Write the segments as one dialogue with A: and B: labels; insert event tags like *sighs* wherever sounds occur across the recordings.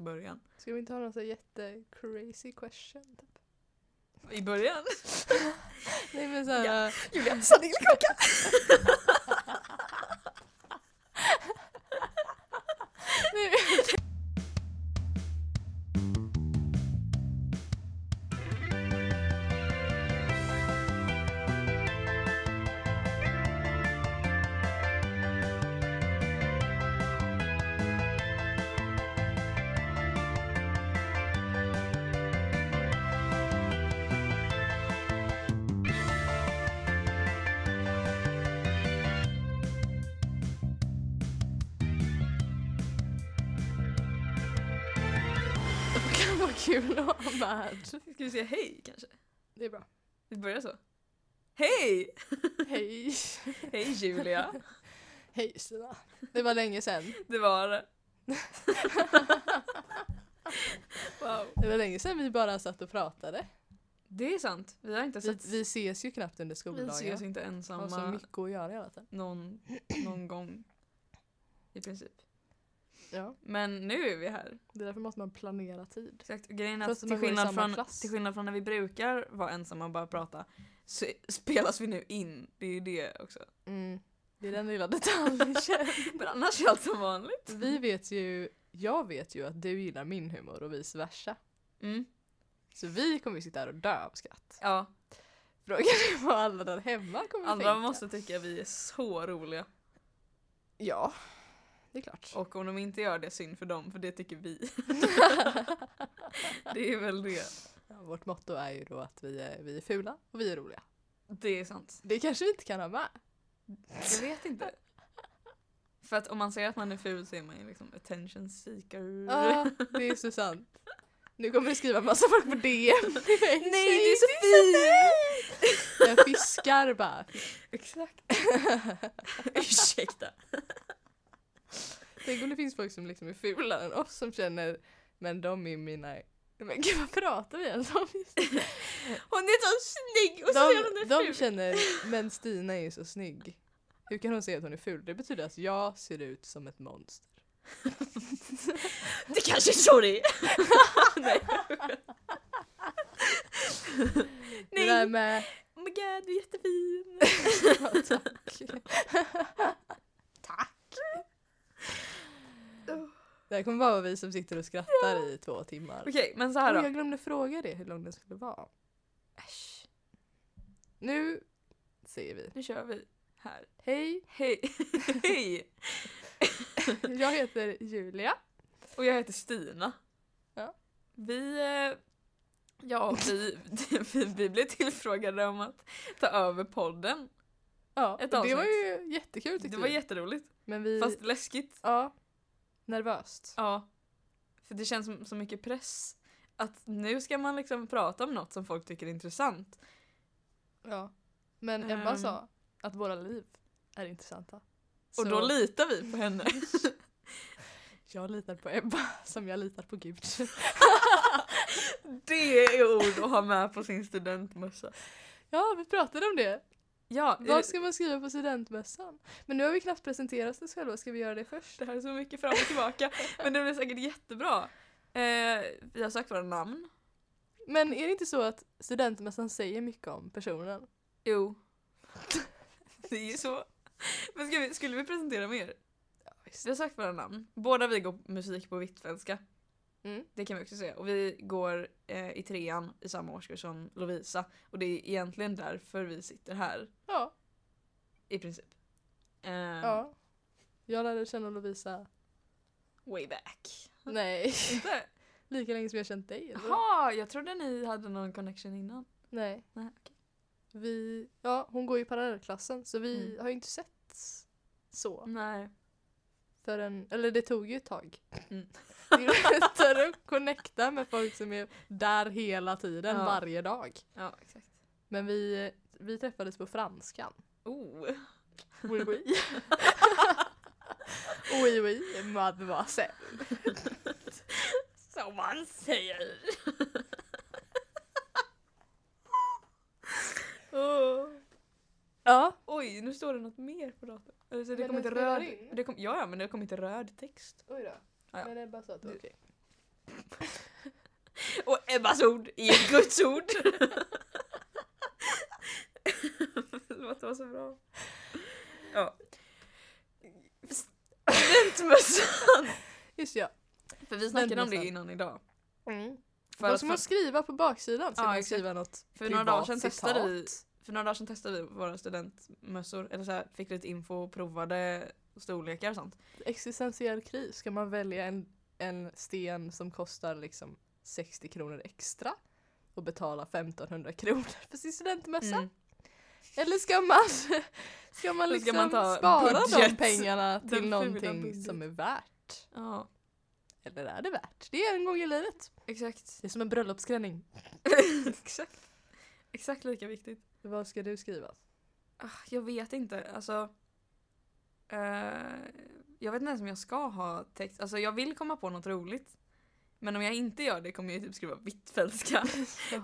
A: början.
B: Ska vi inte ha någon så här jätte crazy question? Typ?
A: I början? *laughs*
B: Nej men äh. såhär...
A: Julia,
B: *laughs*
A: sanillkaka!
B: Det kan vara kul att ha med.
A: Ska vi säga hej kanske?
B: Det är bra.
A: Vi börjar så. Hej!
B: Hej!
A: Hej Julia!
B: Hej Stina. Det var länge sedan.
A: *laughs* Det var det. Wow.
B: Det var länge sedan vi bara satt och pratade.
A: Det är sant. Vi har inte
B: Vi,
A: sett...
B: Alltså, vi ses ju knappt under
A: Vi ses
B: skoldagen.
A: inte
B: Har så
A: ensamma
B: mycket att göra hela tiden.
A: någon, någon gång. I princip.
B: Ja,
A: Men nu är vi här.
B: det är därför måste man planera tid.
A: Exakt. Grejen är att
B: Fast
A: till
B: man går i
A: skillnad,
B: samma
A: från,
B: klass.
A: till skillnad från när vi brukar vara ensamma och bara prata så spelas vi nu in. Det är ju det också. *laughs*
B: Mm. Det är den lilla detaljen.
A: Men annars är allt som vanligt.
B: vi vet ju, jag vet ju att du gillar min humor och vice versa.
A: Mm.
B: Så vi kommer ju sitta här och dö av skratt. *laughs*
A: Ja,
B: Frågan är vad alla där hemma kommer
A: andra
B: tänka.
A: måste tycka vi är så roliga.
B: Ja, det är klart.
A: Och om de inte gör det, synd för dem, för det tycker vi. *laughs* det är väl det.
B: Ja, *laughs* vårt motto är ju då att vi är, vi är fula och vi är roliga.
A: Det är sant.
B: Det kanske vi inte kan ha med.
A: Jag vet inte. För att om man säger att man är ful så är man ju liksom attention seeker. *laughs*
B: Ja, det är så sant. Nu kommer det skriva massa folk på
A: *laughs*
B: DM. Nej,
A: det är så
B: fint!
A: *laughs*
B: Jag fiskar bara. *laughs*
A: Exakt. Ursäkta.
B: Tänk om det finns folk som liksom är fulare än oss som känner men de är mina... Men gud vad pratar vi ens om just nu?
A: Hon är så snygg och så är hon
B: De,
A: är
B: de
A: ful.
B: känner
A: *laughs*
B: men Stina är ju så snygg. Hur kan hon säga att hon är ful? Det betyder att jag ser ut som ett monster.
A: Det kanske är så det
B: *laughs*
A: är. Nej.
B: Det
A: Nej.
B: där med *laughs*
A: Oh my god, du är jättefin.
B: Ja, tack. *laughs* tack. Det här kommer bara vara vi som sitter och skrattar i två timmar.
A: Okej, men så
B: Oj,
A: här då.
B: jag glömde fråga det hur lång den skulle vara.
A: Äsch,
B: Nu säger vi
A: nu kör vi här.
B: hej,
A: Hej. *laughs* Hej.
B: jag heter Julia.
A: Och jag heter Stina.
B: Ja.
A: Vi, eh, ja, vi, *laughs* vi, vi blev tillfrågade om att ta över podden.
B: Ja,
A: Ett
B: det
A: avsnitt.
B: var ju jättekul
A: Det
B: tyckte
A: var
B: vi.
A: jätteroligt,
B: Men vi,
A: fast läskigt.
B: ja, nervöst.
A: Ja. För det känns som så mycket press. Att nu ska man liksom prata om något som folk tycker är intressant.
B: Ja. Men Ebba
A: Ehm.
B: sa att våra liv är intressanta.
A: Och då litar vi på
B: *laughs*
A: henne.
B: jag litar på Ebba *laughs* som jag litar på Gud. *laughs*
A: Det är ord att ha med på sin studentmössa.
B: ja, vi pratade om det.
A: Ja, eh, är
B: Vad
A: det-
B: ska man skriva på studentmössan? Men nu har vi knappt presenterat oss själva, ska vi göra det först?
A: det här är så mycket fram och tillbaka. Men det blir säkert jättebra. Eh, vi har sagt våra namn.
B: Men är det inte så att studentmössan säger mycket om personen?
A: Jo. *laughs* Det är ju så. Men ska vi, skulle vi presentera mer? Vi har sagt våra namn. Båda vi går musik på Hvitfeldtska.
B: Mm.
A: Det kan vi också säga. Och vi går eh, i trean i samma årskurs som Lovisa. Och det är egentligen därför vi sitter här.
B: Ja,
A: I princip. Eh,
B: ja. Jag lärde känna Lovisa,
A: Way back.
B: nej,
A: *laughs*
B: *laughs*
A: Inte?
B: lika länge som jag känt dig. eller?
A: Jaha, jag trodde ni hade någon connection innan.
B: Nej,
A: Nej, okej.
B: vi, ja hon går ju i parallellklassen så vi
A: Mm.
B: har ju inte sett så
A: Nej.
B: förrän, eller det tog ju ett tag.
A: Mm.
B: *laughs* Det är lättare att connecta med folk som är där hela tiden,
A: Ja.
B: varje dag.
A: Ja, exakt.
B: Men vi, vi träffades på franskan.
A: Oh.
B: Oui, oui. *laughs* oui, oui, mademoiselle.
A: Som man säger. Åh.
B: Ja,
A: Oj, nu står det något mer på datorn. Eller så det
B: Men
A: kom
B: den
A: inte
B: spelar
A: röd...
B: in.
A: Det kom, ja, ja, men det kom inte röd text.
B: oj då.
A: Ja, ja.
B: Men Ebba sa att det var okej.
A: Ebbas ord är Guds *laughs* ord. Förlåt, det var så bra. Ja. Studentmössan!
B: Just ja.
A: *laughs* För vi snackade om det
B: Studentmössan.
A: innan idag. För,
B: Vad
A: att
B: ska
A: för,
B: man skriva på baksidan? Ska
A: Ja,
B: man
A: exakt.
B: skriva något
A: för några dagar
B: privat
A: sedan testade vi
B: citat?
A: för några dagar sedan testade vi våra studentmössor, eller så här, fick lite info och provade storlekar och sånt.
B: Existentiell kris. Ska man välja en, en sten som kostar liksom 60 kronor extra och betala 1500 kronor för sin studentmössa?
A: Mm.
B: Eller ska man, *laughs* ska man
A: Eller
B: liksom
A: ska man ta
B: spara de
A: budget? *laughs*
B: pengarna
A: Den
B: till
A: fula
B: någonting
A: budget.
B: som är värt?
A: Ja,
B: Eller är det värt? Det är en gång i livet.
A: exakt.
B: Det är som en bröllopsklänning.
A: *laughs* exakt. Exakt lika viktigt.
B: Vad ska
A: *laughs*
B: du skriva?
A: Ah, Jag vet inte. Alltså, eh, jag vet inte ens om jag ska ha text. Alltså, jag vill komma på något roligt. Men om jag inte gör det kommer jag typ skriva *laughs* Hvitfeldtska.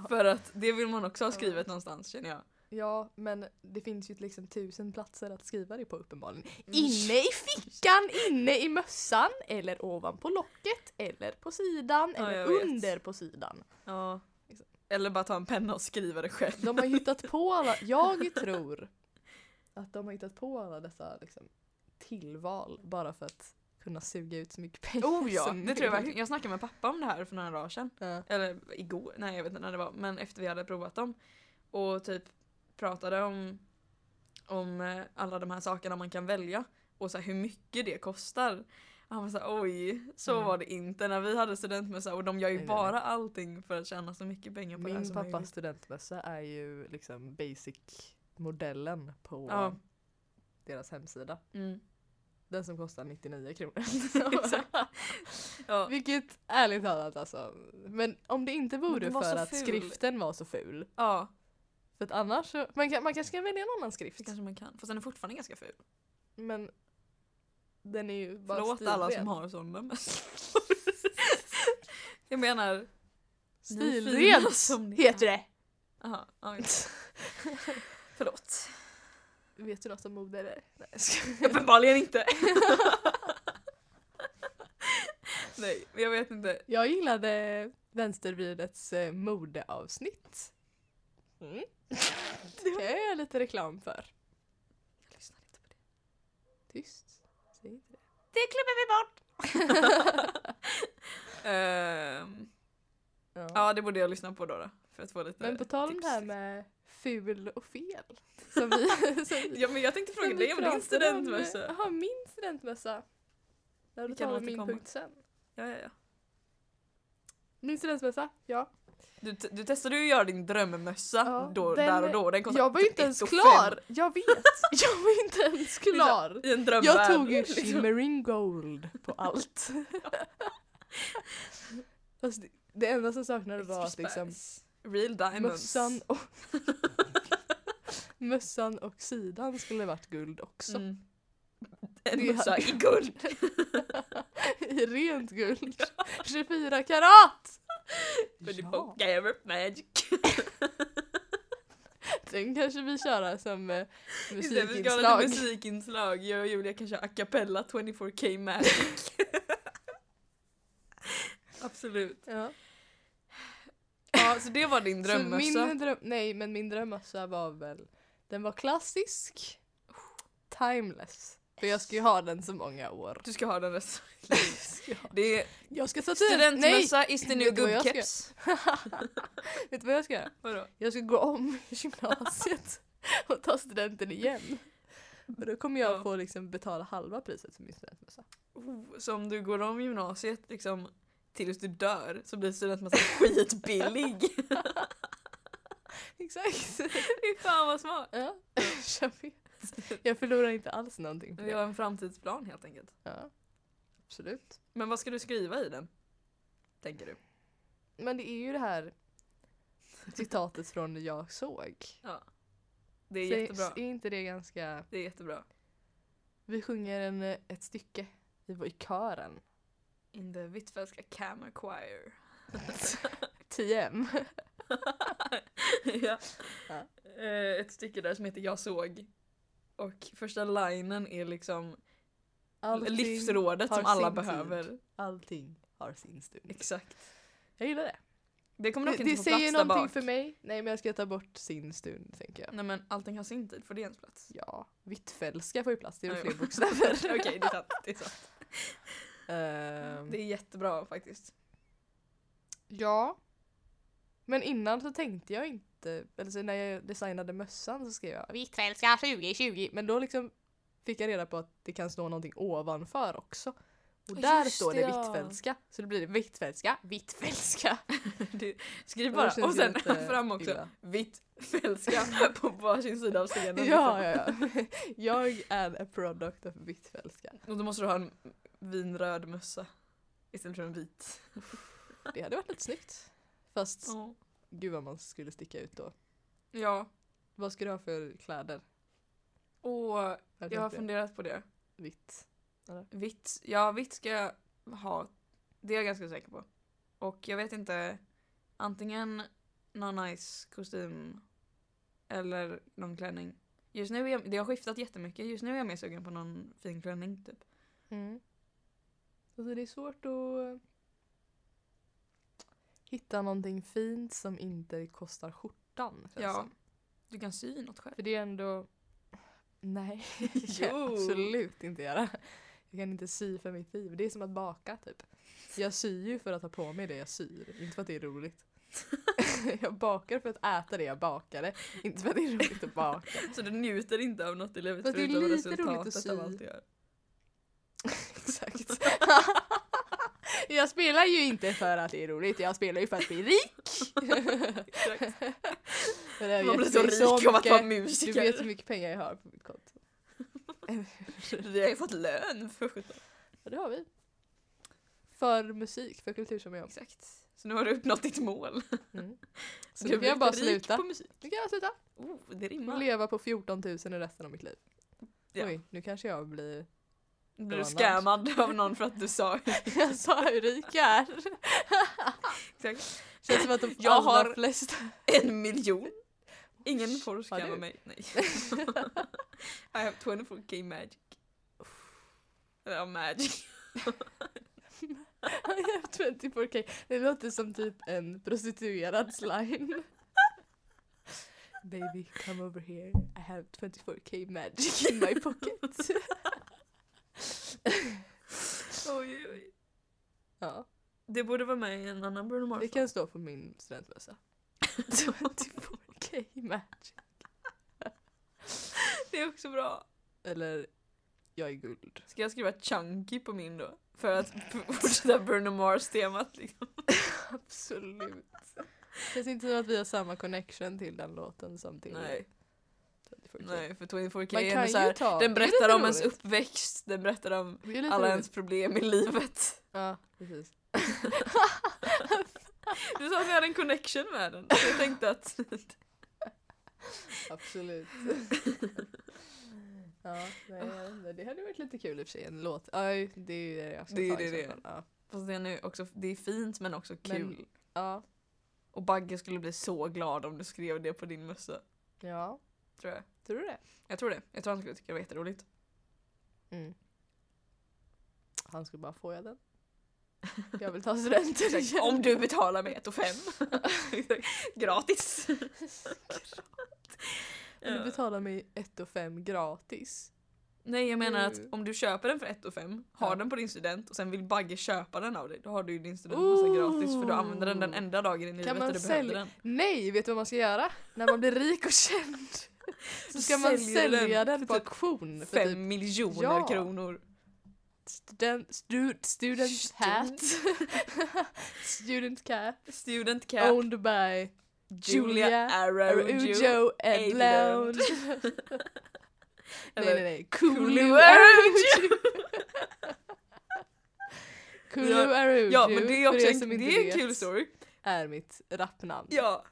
A: För att det vill man också ha skrivet någonstans känner jag.
B: Ja, men det finns ju liksom tusen platser att skriva det på uppenbarligen.
A: Mm.
B: Inne i fickan, inne i mössan, eller ovanpå locket, eller på sidan,
A: Ja,
B: eller
A: jag vet.
B: under på sidan.
A: Ja. Eller bara ta en penna och skriva det själv.
B: De
A: *laughs*
B: har hittat på alla, jag tror att de har hittat på alla dessa liksom, tillval bara för att kunna suga ut så mycket pengar
A: Oh ja,
B: som
A: det tror jag
B: möjligt.
A: verkligen. Jag snackade med pappa om det här för några dagar sedan.
B: Ja.
A: Eller igår, nej jag vet inte när det var. Men efter vi hade provat dem. Och typ pratade om, om eh, alla de här sakerna man kan välja. Och så här, hur mycket det kostar. Han var såhär oj, så
B: Mm.
A: var det inte när vi hade studentmössa. Och de gör ju
B: Nej, nej,
A: bara allting för att tjäna så mycket pengar på det här
B: Min
A: som
B: pappas
A: möjligt.
B: studentmössa är ju liksom basic-modellen på
A: Ja.
B: deras hemsida. *laughs*
A: Mm. *laughs*
B: Den som kostar 99 kronor.
A: Exakt. Ja.
B: *laughs* Vilket ärligt talat alltså. Men om det inte
A: Men
B: vore
A: den var
B: för
A: så
B: att
A: ful.
B: skriften var så ful.
A: ja,
B: För att annars så, man, kan, man kanske kan välja en annan
A: det
B: skrift.
A: kanske man kan. Fast den är fortfarande ganska ful.
B: Men den är ju bara
A: Förlåt alla som
B: stilren.
A: har sådana
B: *laughs*
A: mössor. jag menar, Ni *laughs* fina som
B: Stilrent
A: ni
B: heter
A: är.
B: det!
A: aha,
B: *laughs*
A: oj. Förlåt.
B: Vet du något om mode eller? Nej, jag skojar.
A: Uppenbarligen inte. *laughs* Nej, men jag vet inte.
B: Jag gillade Vänstervridets eh, modeavsnitt. Mm. *laughs* Det kan jag göra lite reklam för.
A: Jag lyssnar inte på det.
B: Tyst. Säg inte det.
A: Det klipper vi bort! *laughs* Ehm,
B: Ja.
A: ja, det borde jag lyssna på då, då för att få lite
B: Men på tal om det
A: tips.
B: här med ful och fel. Som *laughs* vi, som vi,
A: Ja, men jag tänkte fråga
B: som vi
A: dig om
B: pratade
A: din studentmössa.
B: Jaha, min studentmössa. Där du
A: Vi kan
B: tar min
A: återkomma.
B: punkt sen.
A: Ja, ja, ja.
B: Min studentmössa, ja.
A: Du, t- du testade ju att göra din drömmössa
B: Ja,
A: då,
B: den-
A: där och då. Den kostade
B: Jag var ju inte
A: typ ett
B: ens
A: och
B: klar!
A: *laughs*
B: Jag vet! Jag var inte *laughs* ens klar!
A: fem I en drömvärld.
B: Jag tog ju
A: liksom.
B: shimmering gold
A: *laughs*
B: på allt. Fast det, det enda som saknades var att
A: Extra
B: liksom
A: spice. Real diamonds. *laughs*
B: mössan och, mössan och sidan skulle varit guld också.
A: Mm. En
B: Det
A: mössa
B: hade-
A: i guld.
B: *laughs* I
A: *laughs*
B: rent guld. 24 karat!
A: För du
B: Ja,
A: pokar upp magic.
B: den kanske vi köra som eh,
A: Just det, Vi ska ha
B: musikinslag.
A: lite musikinslag. Jag och Julia kan köra a cappella 24k magic. *laughs* Absolut.
B: Ja.
A: Ja, så det var din
B: Så
A: drömmössa.
B: min dröm, nej men min drömmössa var väl, den var klassisk, timeless. För jag ska ju ha den så många år.
A: Du ska ha den resten av ditt liv. Det är
B: *laughs* Jag ska sätta den, nej!
A: studentmössa is the new
B: Vet du vad jag
A: good
B: ska
A: keps.
B: *laughs* Vet du vad jag ska göra?
A: Vadå?
B: Jag ska gå om gymnasiet *laughs* och ta studenten igen. Och då kommer jag
A: Ja.
B: få liksom betala halva priset för min studentmössa.
A: Oh, så om du går om gymnasiet liksom tills du dör så blir studentmössan *laughs* skitbillig.
B: Exakt.
A: *laughs* Fy fan vad smart.
B: Ja, *laughs* jag vet. Jag förlorar inte alls någonting på
A: Vi
B: det.
A: har en framtidsplan helt enkelt.
B: Ja. Absolut.
A: Men vad ska du skriva i den? Tänker du?
B: Men det är ju det här citatet från Jag såg.
A: Det är
B: Så
A: jättebra.
B: Är inte det ganska...
A: Det är jättebra.
B: Vi sjunger en, eh, ett stycke i, i
A: *laughs*
B: kören.
A: In the Hvitfeldtska Kammer Choir.
B: 10M.
A: *laughs* ja.
B: Ja.
A: Eh, Ett stycke där som heter Jag såg. Och första linen är liksom livsrådet
B: har
A: som alla
B: sin tid.
A: behöver.
B: Allting har sin stund.
A: Exakt.
B: Jag gillar det.
A: Det kommer
B: Det,
A: dock inte
B: det
A: få plats
B: säger
A: där
B: någonting
A: bak. Mm.
B: för mig. Nej men jag ska ta bort sin stund tänker jag.
A: Nej men allting har sin tid, för det är ens plats.
B: Ja, Hvitfeldtska får ju plats, det är väl
A: Ja, jo.
B: fler bokstäver.
A: *laughs* Okej, det är sant. Det är, sant.
B: Ehm,
A: det är jättebra faktiskt. *laughs*
B: Ja. Men innan så tänkte jag inte, eller så när jag designade mössan så skrev jag Hvitfeldtska 2020 men då liksom fick jag reda på att det kan stå någonting ovanför också. Och
A: Ja,
B: där
A: just
B: står det
A: det, ja.
B: Hvitfeldtska. Så då blir det Hvitfeldtska, Hvitfeldtska.
A: *laughs* Det, skriv
B: Då
A: bara
B: känns
A: och
B: det
A: sen
B: *laughs* lite
A: *laughs* fram också.
B: illa.
A: Vitt fälska *laughs* på varsin sida av scenen. liksom.
B: Ja, ja, ja. *laughs* Jag är a product of Hvitfeldtska.
A: Och då måste du ha en vinröd mössa istället för en vit.
B: Det hade varit lite snyggt. Fast gud vad man skulle sticka ut då.
A: Ja,
B: Vad ska du ha för kläder?
A: och
B: Vad
A: jag har
B: tänkte du?
A: funderat på det.
B: Vitt.
A: Vitt, ja vitt ska jag ha. Det är jag ganska säker på. Och jag vet inte, antingen någon nice kostym eller någon klänning. Just nu är jag, det har skiftat jättemycket, just nu är jag mer sugen på någon fin klänning typ.
B: Mm. Alltså det är svårt att eh, hitta någonting fint som inte kostar skjortan. känns
A: Ja.
B: som.
A: Du kan sy något själv.
B: För det är ändå... Nej, *laughs* det kan jag
A: Jo.
B: absolut inte göra. Jag kan inte sy för mitt liv. Det är som att baka typ. Jag syr ju för att ha på mig det jag syr, inte för att det är roligt. *laughs* jag bakar för att äta det jag bakade, inte för att det är roligt att baka.
A: Så du njuter inte av något i livet
B: Fast det är
A: förutom
B: lite roligt att
A: resultatet
B: sy.
A: av allt du gör.
B: Exakt. *laughs* jag spelar ju inte för att det är roligt, jag spelar ju för att bli rik.
A: Exakt.
B: Men det har
A: Man blir
B: gett
A: så
B: mig
A: rik av att vara
B: mycket- Du
A: musiker.
B: vet hur mycket pengar jag har på mitt konto.
A: Vi har ju fått lön för sjutton.
B: Ja, det har vi. För musik, för kultur som jag.
A: Exakt. Så nu har du uppnått ditt mål.
B: Mm. Så
A: Du
B: nu
A: har
B: kan
A: blivit
B: jag bara
A: rik
B: sluta.
A: på musik.
B: Nu kan jag sluta.
A: Oh, det
B: Och
A: rimmar.
B: leva på 14 000 i resten av mitt liv.
A: Ja.
B: Oj, nu kanske jag blir... *laughs*
A: Blir du
B: Donald.
A: scammad *laughs* av någon för att du sa
B: jag sa hur rik jag är.
A: *laughs* exakt
B: Känns som att de
A: Jag
B: allra
A: har-
B: flesta...
A: en miljon? Ingen
B: Shh,
A: får
B: har
A: scamma
B: du?
A: mig. *laughs* Nej. I have 24k magic. Eller ja, magic.
B: I have 24k. Det låter som typ en prostituerad slime. Baby, come over here. I have 24k magic in my pocket.
A: *laughs* Oj, oj.
B: ja,
A: Det borde vara med i en annan Bruno
B: det
A: Mars.
B: kan typ- stå på min studentmössa. *laughs* 24k magic.
A: *laughs* Det är också bra.
B: Eller, jag är guld.
A: Ska jag skriva chunky på min då? För att *laughs* fortsätta Bruno Mars-temat liksom.
B: *laughs* Absolut. Känns inte som att vi har samma connection till den låten som till
A: Nej,
B: 24k.
A: nej för 24k
B: Man
A: är
B: kan
A: ändå
B: ju
A: så här,
B: ta...
A: Den
B: det är
A: berättar
B: lite
A: om ens
B: roligt.
A: uppväxt, den berättar om
B: Det är lite
A: alla
B: roligt.
A: ens problem i livet.
B: Ja, precis.
A: *laughs* Du sa att jag hade en connection med den, så jag tänkte att... *laughs*
B: Absolut. ja, nej, jag vet inte. det hade varit lite kul i och för sig. En låt. Aj, det är ju det jag ska
A: Det är
B: ta i
A: det, det
B: så
A: är.
B: fall. Ja.
A: Fast det är, nu också, det är fint men också
B: Men-
A: kul.
B: ja.
A: Och Bagge skulle bli så glad om du skrev det på din mössa,
B: Ja,
A: tror jag.
B: tror du det?
A: Jag tror det. Jag tror han skulle tycka det var jätteroligt.
B: Mm. Han skulle bara, får jag den? Jag vill
A: *laughs*
B: ta studenten igen.
A: Om du betalar med ett och fem. *laughs* Gratis.
B: Om du
A: Ja.
B: betalar mig 1 och 5 gratis.
A: Nej jag menar att
B: Mm.
A: om du köper den för 1 och 5, har
B: Ja.
A: den på din student och sen vill Bagge köpa den av dig, då har du ju din studentmössa
B: Ooh.
A: gratis för du använder den den enda dagen i livet där
B: man
A: du behöver
B: sälja-
A: den.
B: Nej, vet du vad man ska göra? När man blir rik
A: *laughs*
B: och känd så ska man
A: Säljer den
B: sälja den,
A: för
B: på
A: typ
B: auktion för
A: Fem
B: typ
A: miljoner
B: Ja.
A: kronor.
B: student, stu, student hat, *laughs* student cap. Oh,
A: Student cap,
B: Owned by
A: Julia,
B: Julia
A: Araujo.
B: Arujo
A: Edlund.
B: Edlound. *laughs* nej, nej,
A: Eller
B: nej.
A: Kulu
B: Kulu
A: Arujo. *laughs*
B: Arujo. Kulu
A: Ja,
B: Arujo,
A: Ja men det är
B: för
A: också
B: er
A: en,
B: som inte
A: det är en
B: vet,
A: kul story.
B: är mitt rappnamn.
A: Ja,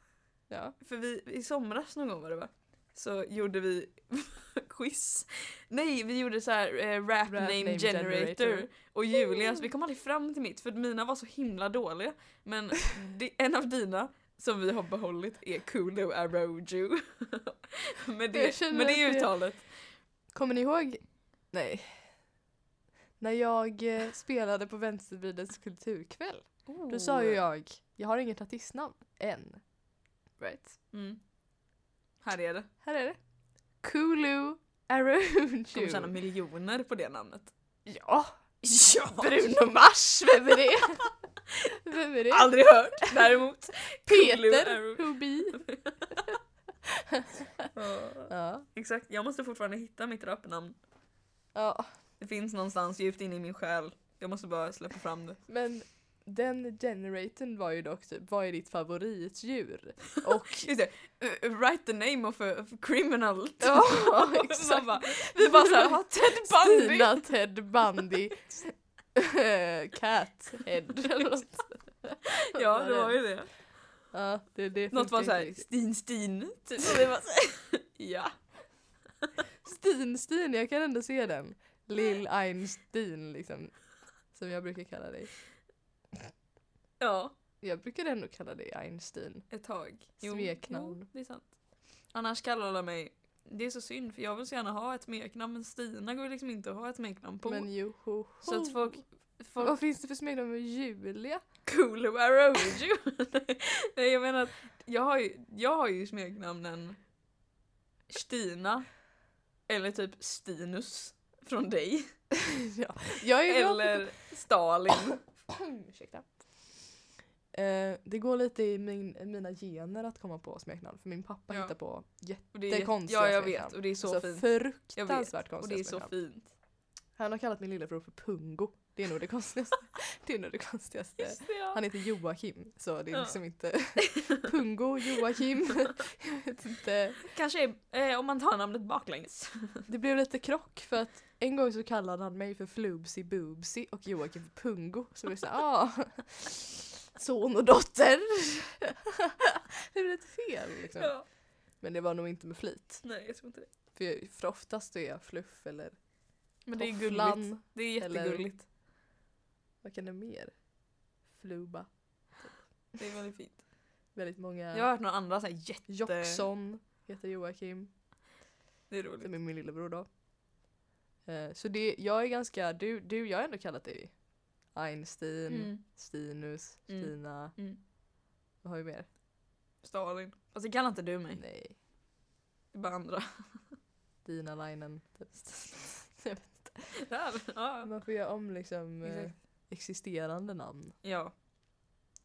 B: Ja.
A: för vi, i somras någon gång var det va? Så gjorde vi *laughs* quiz. Nej vi gjorde så här eh, rap, name,
B: name
A: generator.
B: generator.
A: Och Julias, vi kom aldrig fram till mitt för mina var så himla dåliga.
B: *laughs*
A: Men det, en av dina som vi har behållit är Kulu Aroju. *laughs* med
B: Jag
A: det,
B: känner
A: med det
B: att det-
A: uttalet.
B: Kommer ni ihåg? Nej. När jag eh, spelade på Vänstervridens kulturkväll Då sa
A: Oh.
B: ju jag, jag har inget artistnamn än. Right.
A: Mm. Här är det.
B: Här är det. Kulu Araujo.
A: Kommer tjäna miljoner på det namnet.
B: Ja,
A: Ja!
B: Bruno Mars, vem är det? *laughs* Vem är det?
A: Aldrig hört
B: *laughs*
A: däremot. *laughs*
B: Peter
A: Araujo.
B: Hubi.
A: Ja,
B: Ja.
A: Exakt, jag måste fortfarande hitta mitt rapnamn.
B: ja,
A: Det finns någonstans djupt inne i min själ. Jag måste bara släppa fram det.
B: men den generatorn var ju dock typ, vad är ditt favoritdjur? Och
A: Just det, uh, uh, write the name of a of a *laughs* criminal.
B: ja,
A: Man
B: exakt.
A: bara, *laughs* vi bara såhär, "Ha, Ted Bundy!
B: Stina Ted Bundy. Eh, Cat Head eller något.
A: *laughs* Ja, det var ju det.
B: Ja, det, det
A: Något var
B: funkar
A: såhär,
B: inte riktigt.
A: Stin Stin. Typ. Och vi bara såhär, *laughs* ja.
B: Stin, Stin, jag kan ändå se den. Lill Einstein liksom. Som jag brukar kalla dig.
A: Ja,
B: Jag brukar ändå kalla dig Einstein.
A: ett tag.
B: Smeknamn.
A: Jo, det är sant. Annars kallar alla mig, det är så synd för jag vill så gärna ha ett smeknamn men Stina går ju liksom inte att ha ett smeknamn på.
B: Men joho.
A: så att folk, folk
B: Vad finns det för smeknamn med Julia?
A: Kulu Araujo. *laughs* Nej jag menar att jag har ju, jag har ju smeknamnen Stina eller typ Stinus från dig.
B: ja. Jag är glad för-
A: Eller Stalin.
B: *clears throat* Ursäkta. Eh, det går lite i min, mina gener att komma på smeknamn. För min pappa
A: Ja.
B: hittar på jätte-
A: Och det
B: är
A: jätte-
B: konstiga
A: Ja jag
B: smeknamn.
A: vet och det är så
B: så
A: fint. Jag vet.
B: fruktansvärt
A: Och
B: konstiga
A: det är så
B: smeknamn.
A: fint.
B: Han har kallat min lillebror för Pungo. Det är nog
A: *laughs*
B: det konstigaste. det är nog det konstigaste.
A: Just det, ja.
B: Han heter Joakim, så det är
A: Ja.
B: liksom inte
A: *laughs*
B: Pungo, Joakim. jag vet inte.
A: Kanske eh, om man tar namnet baklänges.
B: Det blev lite krock för att en gång så kallade han mig för Flubsy Boobsy och Joakim för Pungo. Så blev det såhär, ah, *laughs* son och dotter. *laughs* det blev lite fel liksom.
A: *laughs* Ja.
B: Men det var nog inte med flit.
A: Nej jag tror inte det.
B: För, jag, för oftast är jag Fluff eller
A: Men det är
B: Tofflan.
A: gulligt. Det är
B: eller-
A: jättegulligt.
B: Vad kan det mer? Fluba.
A: Det är väldigt fint.
B: Väldigt många.
A: Jag har hört några andra såhär jätte...
B: Jockson heter Joakim.
A: Det är roligt.
B: Som är min lillebror då. Eh, Så det, jag är ganska, du, du jag har ändå kallat dig Einstein,
A: Mm.
B: Stinus,
A: Mm.
B: Stina.
A: Mm.
B: Vad har vi mer?
A: Stalin. Fast det kallar inte du mig.
B: Nej.
A: Det är bara andra.
B: Dina Linen. Typ.
A: Där. Ja.
B: *laughs* Man får göra om liksom eh,
A: Exakt.
B: existerande *laughs* namn.
A: ja.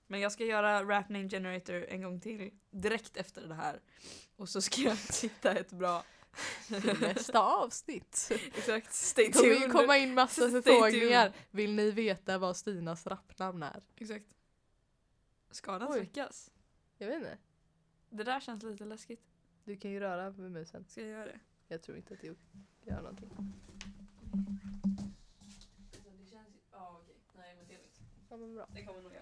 A: Men jag ska göra Rap Name Generator en gång till. Direkt efter det här. Och så ska jag *laughs* hitta ett bra...
B: till nästa avsnitt.
A: *laughs* Exakt. Stay
B: Det kommer ju
A: tuned.
B: komma in massa
A: Stay
B: förfrågningar. Vill ni veta vad Stinas rappnamn är?
A: Exakt. Ska den
B: Oj.
A: slickas?
B: Jag vet inte.
A: Det där känns lite läskigt.
B: Du kan ju röra med musen.
A: Ska jag göra det?
B: Jag tror inte att du gör någonting.
A: Det känns... Ja okej. Nej men det är lugnt.
B: Ja, men bra.
A: Det kommer nog göra.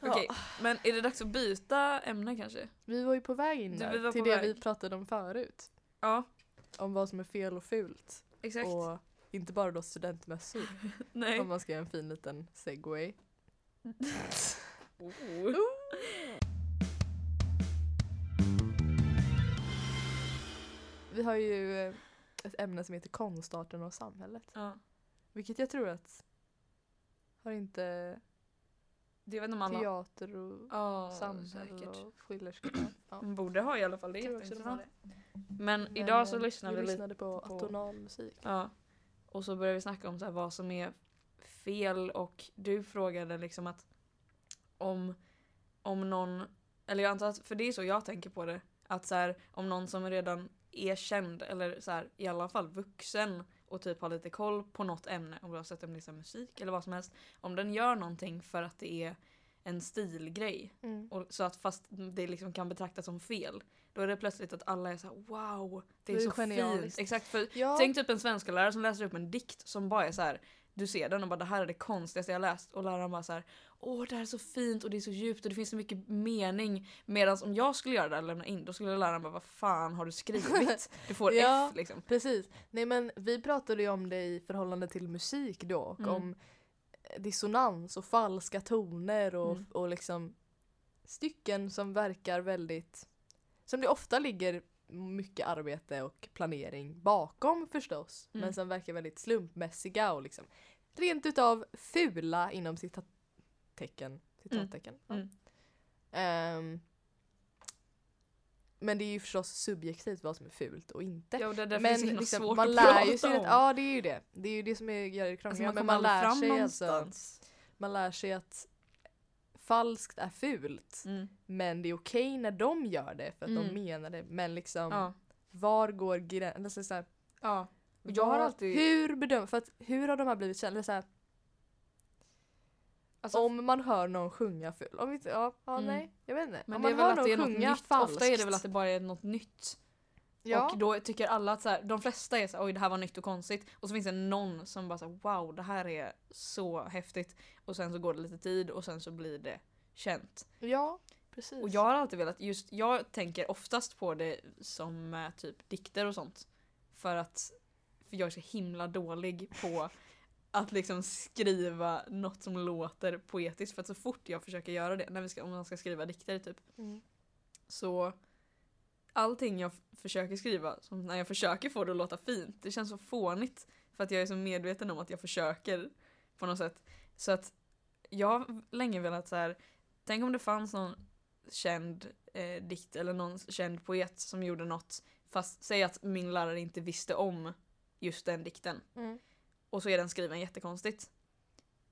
A: Okej, men är det dags att byta ämne kanske?
B: Vi var ju på väg in
A: Du,
B: där,
A: vi var
B: till
A: på
B: det
A: väg.
B: vi pratade om förut.
A: Ja,
B: Om vad som är fel och fult.
A: exakt.
B: Och inte bara då studentmössor.
A: Nej.
B: Om man ska göra en fin liten *laughs* segway. Vi har ju eh, ett ämne som heter konstarten och samhället.
A: Ja.
B: Vilket jag tror att har inte
A: Det vet inte om alla...
B: teater och
A: Ja,
B: samhälle
A: säkert.
B: och skillerskolan. Ja.
A: De borde ha i alla fall, det är
B: Jag tror också de har
A: jätteintressant. Men,
B: Men,
A: idag så
B: eh,
A: lyssnar vi, lite.
B: lyssnade på
A: på-
B: atonal musik.
A: Ja. Och så börjar vi snacka om så här vad som är fel och du frågade liksom att om, om någon, eller jag antar att, för det är så jag tänker på det, att så här, om någon som redan är känd eller så här, i alla fall vuxen och typ har lite koll på något ämne, oavsett om det är så här musik eller vad som helst, om den gör någonting för att det är en stilgrej
B: Mm.
A: och så att fast det liksom kan betraktas som fel, då är det plötsligt att alla är så här: wow, det är,
B: Det
A: så
B: är genialiskt.
A: fint. Exakt, för
B: Ja, *laughs*
A: Tänk typ en svenska lärare som läser upp en dikt som bara är så här. Du ser den och bara det här är det konstigaste jag läst och läraren bara så här. Åh det här är så fint och det är så djupt och det finns så mycket mening. Medan om jag skulle göra det här och lämna in då skulle läraren bara vad fan har du
B: *laughs*
A: skrivit? Du får
B: Ja.
A: F liksom.
B: precis. Nej men vi pratade ju om det i förhållande till musik då och
A: Mm.
B: om eh, dissonans och falska toner och,
A: Mm.
B: och liksom stycken som verkar väldigt som det ofta ligger mycket arbete och planering bakom förstås
A: Mm.
B: men som verkar väldigt slumpmässiga och liksom rent utav fula inom citat tecken. Citattecken. ja.
A: Mm.
B: Ehm, men det är ju förstås subjektivt vad som är fult och inte.
A: Ja, och det är därför det är
B: men
A: så himla
B: liksom,
A: svårt
B: man
A: att
B: lär
A: prata
B: ju sig
A: om.
B: att, ja det är ju det. Det är ju det som är, gör det
A: alltså, man
B: krångligare. men
A: kommer
B: man
A: aldrig
B: lär
A: fram
B: sig alltså,
A: någonstans.
B: man lär sig att falskt är fult.
A: Mm.
B: Men det är okej när de gör det för att de
A: Mm.
B: menar det. Men liksom
A: Ja.
B: var går gränsen? Alltså, så här,
A: ja. Och jag har
B: var-
A: alltid-
B: Hur bedömer, för att hur har de här blivit kända? Eller Så här,
A: Alltså,
B: om man hör någon sjunga ful, om inte, ja, ja
A: Mm.
B: nej, jag vet inte.
A: Men
B: om
A: det är
B: man
A: väl
B: hör
A: att
B: någon
A: det är något
B: sjunga
A: nytt.
B: falskt.
A: Ofta är det väl att det bara är något nytt.
B: ja.
A: Och då tycker alla att så här, de flesta är så här, oj det här var nytt och konstigt. Och så finns det någon som bara så här, wow det här är så häftigt. Och sen så går det lite tid och sen så blir det känt.
B: ja, precis.
A: Och jag har alltid velat, just jag tänker oftast på det som eh, typ dikter och sånt. För att för jag är så himla dålig på *laughs* att liksom skriva något som låter poetiskt. För att så fort jag försöker göra det, när vi ska, om man ska skriva dikter typ,
B: Mm.
A: så allting jag f- försöker skriva, som när jag försöker få det att låta fint, det känns så fånigt. För att jag är så medveten om att jag försöker på något sätt. Så att jag har länge velat så här. tänk om det fanns någon känd eh, dikt eller någon känd poet som gjorde något, fast säg att min lärare inte visste om just den dikten.
B: Mm.
A: Och så är den skriven jättekonstigt.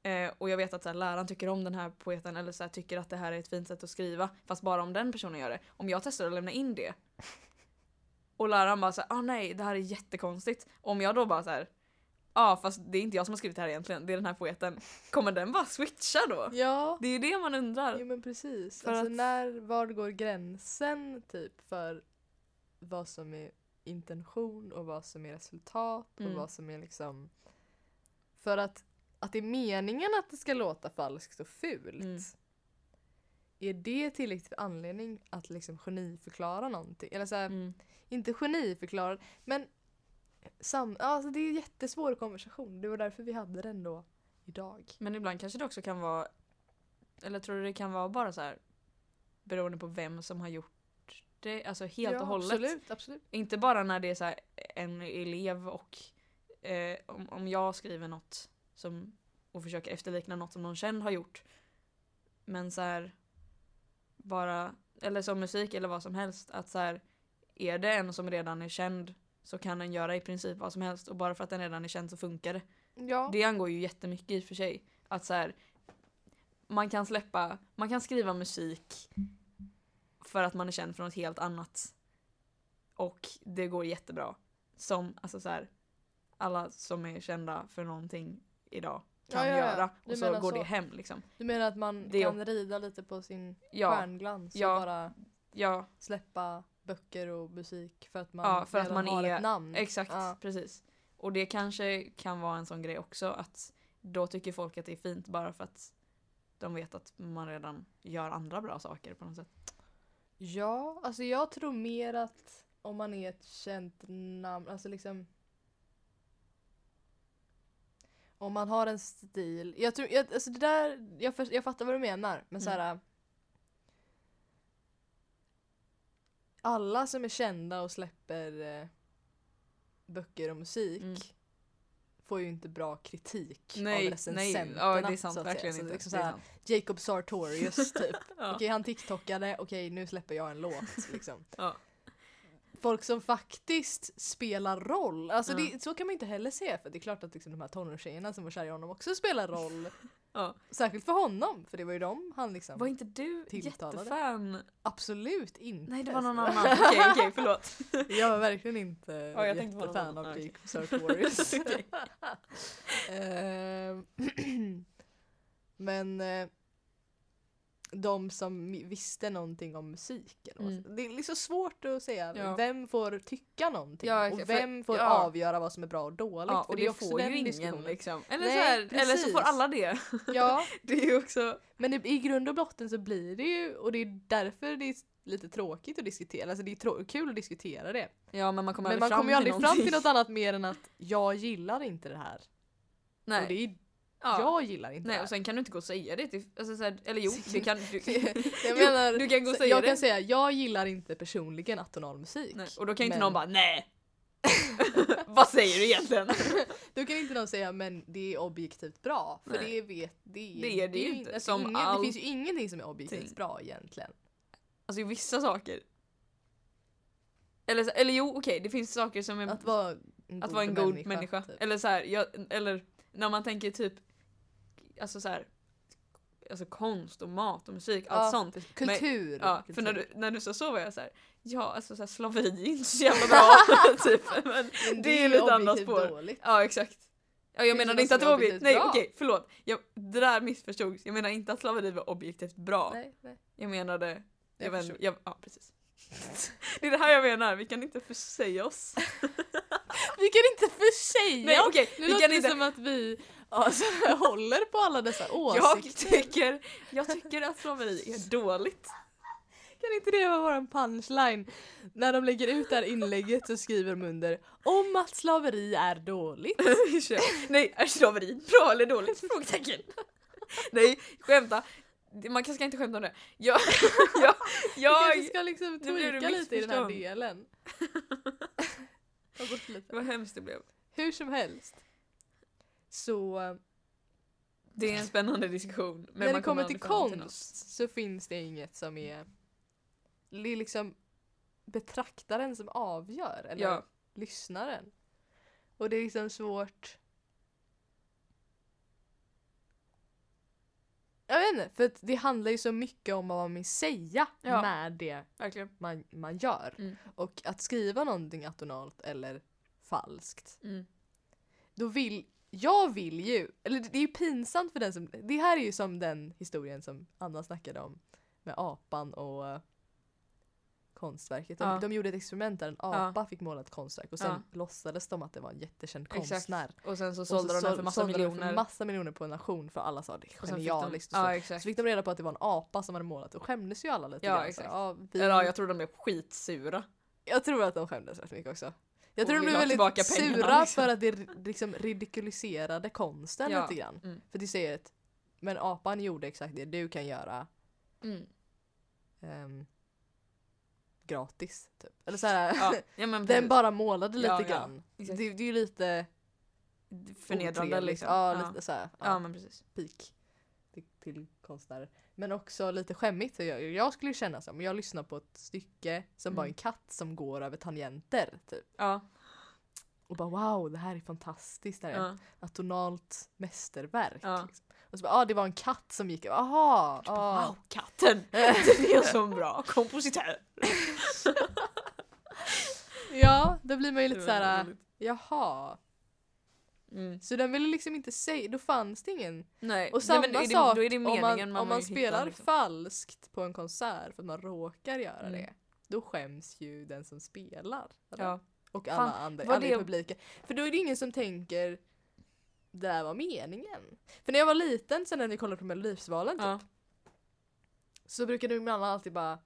A: Eh, och jag vet att så här, läraren tycker om den här poeten eller så här, tycker att det här är ett fint sätt att skriva. Fast bara om den personen gör det. Om jag testar att lämna in
B: *laughs*
A: det. Och läraren bara såhär, ah nej det här är jättekonstigt. Om jag då bara så här, ja fast det är inte jag som har skrivit det här egentligen, det är den här poeten. Kommer den bara switcha då?
B: Ja,
A: Det är ju det man undrar.
B: jo men precis.
A: För
B: Alltså
A: att-
B: när, var går gränsen typ för vad som är intention och vad som är resultat
A: Mm.
B: och vad som är liksom... För att, att det är meningen att det ska låta falskt och fult.
A: Mm.
B: Är det tillräckligt för anledning att liksom geniförklara någonting? Eller så här,
A: Mm.
B: inte geniförklarad, men sam, alltså det är en jättesvår konversation. Det var därför vi hade den då idag.
A: Men ibland kanske det också kan vara, eller tror du det kan vara bara så här beroende på vem som har gjort det, alltså helt och hållet.
B: Absolut, absolut.
A: Inte bara när det är så här en elev och eh, om, om jag skriver något som, och försöker efterlikna något som någon känd har gjort. Men så här bara, eller som musik eller vad som helst, att så här är det en som redan är känd så kan den göra i princip vad som helst och bara för att den redan är känd så funkar det.
B: Ja.
A: Det angår ju jättemycket i och för sig. Att så här, man kan släppa, man kan skriva musik för att man är känd för något helt annat. Och det går jättebra. Som, alltså så här, alla som är kända för någonting idag kan
B: Ja, ja, ja.
A: göra.
B: Du
A: Och så
B: menar
A: går
B: så.
A: det hem liksom.
B: Du menar att man
A: Det-
B: kan rida lite på sin
A: Ja,
B: stjärnglans
A: Ja.
B: och bara
A: ja
B: släppa böcker och musik för att man
A: Ja, för att
B: redan
A: man
B: har
A: är-
B: ett namn?
A: Exakt,
B: Mm. Ja.
A: precis. Och det kanske kan vara en sån grej också att då tycker folk att det är fint bara för att de vet att man redan gör andra bra saker på något sätt.
B: Ja, alltså jag tror mer att om man är ett känt namn, alltså liksom Om man har en stil, jag tror, jag, alltså det där, jag, för, jag fattar vad du menar
A: Mm.
B: men så här. Alla som är kända och släpper eh, böcker och musik
A: Mm.
B: får ju inte bra kritik av
A: Nej, nej,
B: recensenterna.
A: ja det är sant
B: så att säga.
A: verkligen
B: Så
A: inte.
B: det är liksom
A: Det
B: så
A: är
B: här,
A: sant.
B: Jacob Sartorius typ
A: Ja.
B: Okej, han tiktokade. Okej, nu släpper jag en låt. Liksom.
A: Ja.
B: Folk som faktiskt spelar roll. Alltså,
A: Ja.
B: det, så kan man inte heller se. För det är klart att liksom, de här tonårstjejerna som var kära i honom också spelar roll.
A: Ja.
B: Särskilt för honom, för det var ju dem han liksom...
A: Var inte du
B: Tilltalade.
A: jättefan?
B: Absolut inte.
A: Nej det var
B: *laughs*
A: någon
B: Så-
A: annan. Okej, okej förlåt.
B: Jag var verkligen inte
A: jag tänkte på någon
B: jättefan
A: annan.
B: av
A: Ja,
B: Jake
A: *laughs*
B: Sartorius.
A: Okej.
B: Ehm, *clears throat* Men eh, de som mi- visste någonting om musik. Eller vad man
A: Mm.
B: säger. Det är liksom svårt att säga
A: Ja.
B: vem får tycka någonting
A: Ja,
B: och
A: exakt, för-
B: vem får
A: ja.
B: avgöra vad som är bra och dåligt.
A: Ja,
B: för
A: och
B: är
A: det
B: också
A: får
B: den
A: ju ingen
B: diskussionen.
A: liksom. Eller,
B: Nej,
A: så här, eller så
B: precis.
A: får alla
B: *laughs*
A: det. *laughs*
B: Ja,
A: Det är ju också...
B: men i, i grund och botten så blir det ju och det är därför det är lite tråkigt att diskutera. Alltså det är trå- kul att diskutera det.
A: Ja men man kommer
B: Men man kommer ju aldrig fram till något annat mer än att jag gillar inte det här.
A: Nej.
B: Och det är,
A: ja.
B: jag gillar inte
A: Nej
B: det
A: och
B: här.
A: sen kan du inte gå och säga det till, alltså, så här, eller jo, det kan
B: *laughs*
A: du.
B: jag
A: Jo,
B: menar,
A: du kan gå och
B: så-
A: säga
B: jag
A: det.
B: kan säga jag gillar inte personligen atonal
A: *laughs*
B: musik.
A: Nej, *laughs* och då kan inte
B: Men-
A: någon bara nej. Vad säger du
B: *laughs*
A: egentligen? Alltså,
B: Då kan inte någon säga men det är objektivt bra. För
A: Nej.
B: det vet det.
A: Det är det ju
B: in-
A: inte.
B: Alltså,
A: Som
B: ingen,
A: allt-
B: Det finns ju ingenting som är objektivt
A: Ting.
B: bra egentligen.
A: Alltså vissa saker. Eller, så- eller jo, okej, det finns saker som är...
B: Att vara en
A: Mm. att vara en god människa.
B: typ.
A: Eller så här, jag, eller när man tänker typ, alltså så här, alltså konst och mat och musik, allt
B: Ja,
A: sånt.
B: Kultur.
A: Ja, för
B: kultur.
A: när du, när du sa så var jag så här, ja alltså så här, slaveri är inte så jävla
B: *laughs*
A: bra. *laughs* typ. Men, *laughs*
B: Men
A: det är ju lite annat
B: objektivt
A: spår.
B: dåligt.
A: ja exakt. Ja, jag
B: Finns
A: menade
B: det något
A: inte att det
B: som
A: var
B: är
A: objektivt, nej
B: objektivt bra?
A: okej förlåt. Jag, det där missförstods. Jag menar inte att slaveri var objektivt bra.
B: Nej, nej.
A: Jag menade, jag,
B: Jag
A: jag,
B: förstår.
A: jag ja precis. *laughs* det är det här jag menar, vi kan inte försäga
B: *laughs*
A: oss.
B: Vi kan inte försäga
A: Nej
B: oss.
A: okej,
B: Nu
A: vi
B: låter
A: kan
B: det
A: inte
B: som att vi alltså, håller på alla dessa
A: *laughs* Jag
B: åsikter.
A: tycker, jag tycker att slaveri är
B: *laughs*
A: dåligt.
B: Kan inte det vara våran punchline? När de lägger ut det här inlägget så skriver de under om att slaveri är dåligt.
A: Nej, är slaveri bra eller dåligt? Frågetecken. *laughs* Nej, skämta. Det- Man kanske inte skämta om det. Jag, *laughs* jag,
B: Jag
A: jag,
B: kanske ska liksom
A: nu blev det
B: tweaka lite i den här
A: missförstånd. *laughs*
B: delen. Ta bort lite.
A: vad hemskt det blev.
B: Hur som helst. Så eh,
A: Det är en spännande diskussion. Men
B: när
A: man
B: det kommer till
A: aldrig fram något.
B: konst så finns det inget som är... Det är liksom betraktaren som avgör. Eller
A: Ja,
B: lyssnaren. Och det är liksom svårt. Jag vet inte, för att det handlar ju så mycket om vad man vill säga
A: Ja.
B: med det
A: verkligen.
B: man, man gör.
A: Mm.
B: Och att skriva någonting atonalt eller falskt,
A: Mm.
B: då vill jag vill ju, eller det det är ju pinsamt för den som, det här är ju som den historien som Anna snackade om med apan och eh, konstverket. De,
A: Ja.
B: de gjorde ett experiment där en
A: Ja.
B: apa fick måla ett konstverk och sen låtsades de att det var en jättekänd
A: Exakt.
B: konstnär.
A: Och sen så
B: Och så
A: sålde de den
B: sål-
A: för massa
B: sålde de
A: miljoner.
B: för massa miljoner på en nation för alla sa det är
A: och sen fick
B: genialiskt.
A: de,
B: och så.
A: ja,
B: så
A: exakt.
B: fick de reda på att det var en apa som hade målat och skämdes ju alla lite
A: Ja,
B: grann. Så,
A: exakt.
B: Ja, vi,
A: Eller ja, jag tror de blev skitsura.
B: jag tror att de skämdes rätt mycket också. Jag
A: Och
B: tror de
A: vill
B: blev
A: ha tillbaka
B: väldigt
A: pengarna,
B: sura
A: liksom.
B: för att det ri- liksom ridikuliserade konsten
A: Ja,
B: lite grann.
A: mm.
B: För det säger att men apan gjorde exakt det du kan göra
A: Mm.
B: ehm, gratis. Typ. Eller så här, *laughs*
A: Ja, ja, men
B: den
A: precis.
B: bara målade lite
A: Ja, ja,
B: grann.
A: exakt.
B: det, det är ju lite
A: förnedrande
B: otrevligt.
A: liksom.
B: Ja,
A: ja.
B: lite så här, ja.
A: ja men precis.
B: pik till, till konstnärer. Men också lite skämmigt. Jag, jag skulle ju känna så, men jag lyssnar på ett stycke som bara
A: Mm.
B: en katt som går över tangenter. Typ.
A: Ja,
B: Och bara wow, det här är fantastiskt. Det här är
A: ja.
B: ett tonalt mästerverk.
A: Ja. Typ
B: Liksom. Och så bara, ah, det var en katt som gick. Aha! Ah.
A: Wow, katten! *laughs* Den är så bra kompositör!
B: *laughs* Ja, då blir man ju
A: Det
B: lite
A: var
B: såhär,
A: roligt.
B: jaha.
A: Mm.
B: Så den ville liksom inte säga, då fanns det ingen
A: Nej,
B: Och
A: nej,
B: samma
A: men är det,
B: sak
A: då är det
B: om
A: meningen
B: man, om man
A: hittar
B: spelar
A: liksom.
B: falskt på en konsert för att man råkar göra
A: Mm.
B: det. Då skäms ju den som spelar. eller?
A: Ja.
B: Och
A: Fan,
B: alla andra
A: vad
B: alla i
A: det-
B: publiken. För då är det ingen som tänker det där var meningen. För när jag var liten, sen när vi kollade på Melodifestivalen
A: Ja.
B: typ, så brukade min mamma alltid bara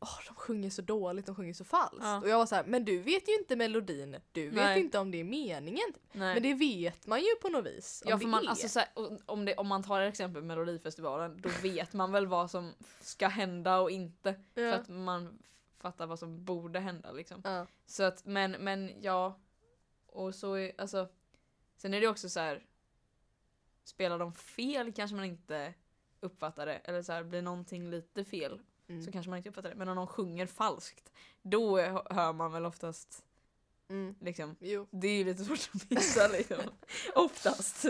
B: Åh, de sjunger så dåligt, de sjunger så falskt.
A: Ja.
B: Och jag var så här, men du vet ju inte melodin, du vet
A: Nej.
B: inte om det är meningen.
A: Nej.
B: Men det vet man ju på något vis. om
A: ja, för
B: det
A: man,
B: är.
A: alltså, så här, och- om, det, om man tar exempel Melodifestivalen då vet man väl vad som ska hända och inte. För
B: Ja.
A: att man fattar vad som borde hända liksom.
B: Ja.
A: Så att, men, men ja. Och så är, alltså. Sen är det också så här. Spelar de fel kanske man inte uppfattar det. Eller så här, blir någonting lite fel
B: Mm.
A: så kanske man inte uppfattar det. Men om de sjunger falskt, då är- hör man väl oftast
B: Mm.
A: liksom.
B: Jo.
A: Det är ju lite svårt att
B: *laughs*
A: missa liksom. oftast.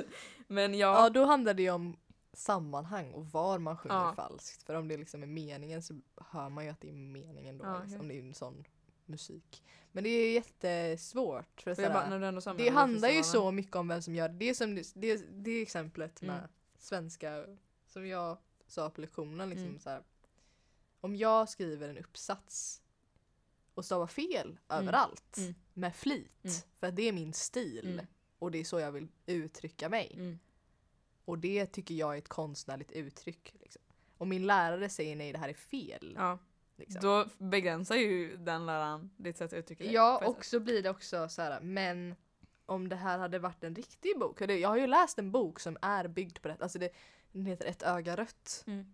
A: Men ja.
B: Ja, då handlar det ju om sammanhang och var man sjunger
A: Ja.
B: falskt. För om det liksom är meningen så hör man ju att det är meningen då.
A: Ja,
B: liksom.
A: okej.
B: Om det är en sån musik. Men det är jättesvårt. För att
A: Får jag bara-
B: såhär,
A: när du ändå sa
B: det handlar ju
A: Melodifestivalen.
B: så mycket om vem som gör det. Det, är som, det, det, det är exemplet med
A: Mm.
B: svenska som jag sa på lektionen. Liksom,
A: Mm.
B: så här, om jag skriver en uppsats och stavar fel överallt
A: Mm.
B: med flit
A: Mm.
B: för att det är min stil
A: Mm.
B: och det är så jag vill uttrycka mig.
A: Mm.
B: Och det tycker jag är ett konstnärligt uttryck. Liksom. Om min lärare säger nej det här är fel.
A: Ja,
B: liksom.
A: då begränsar ju den läraren ditt sätt att uttrycka det.
B: Ja,
A: på ett
B: och så blir det också så här, men om det här hade varit en riktig bok. och det- Jag har ju läst en bok som är byggd på det. Alltså det, den heter Ett öga rött.
A: Mm.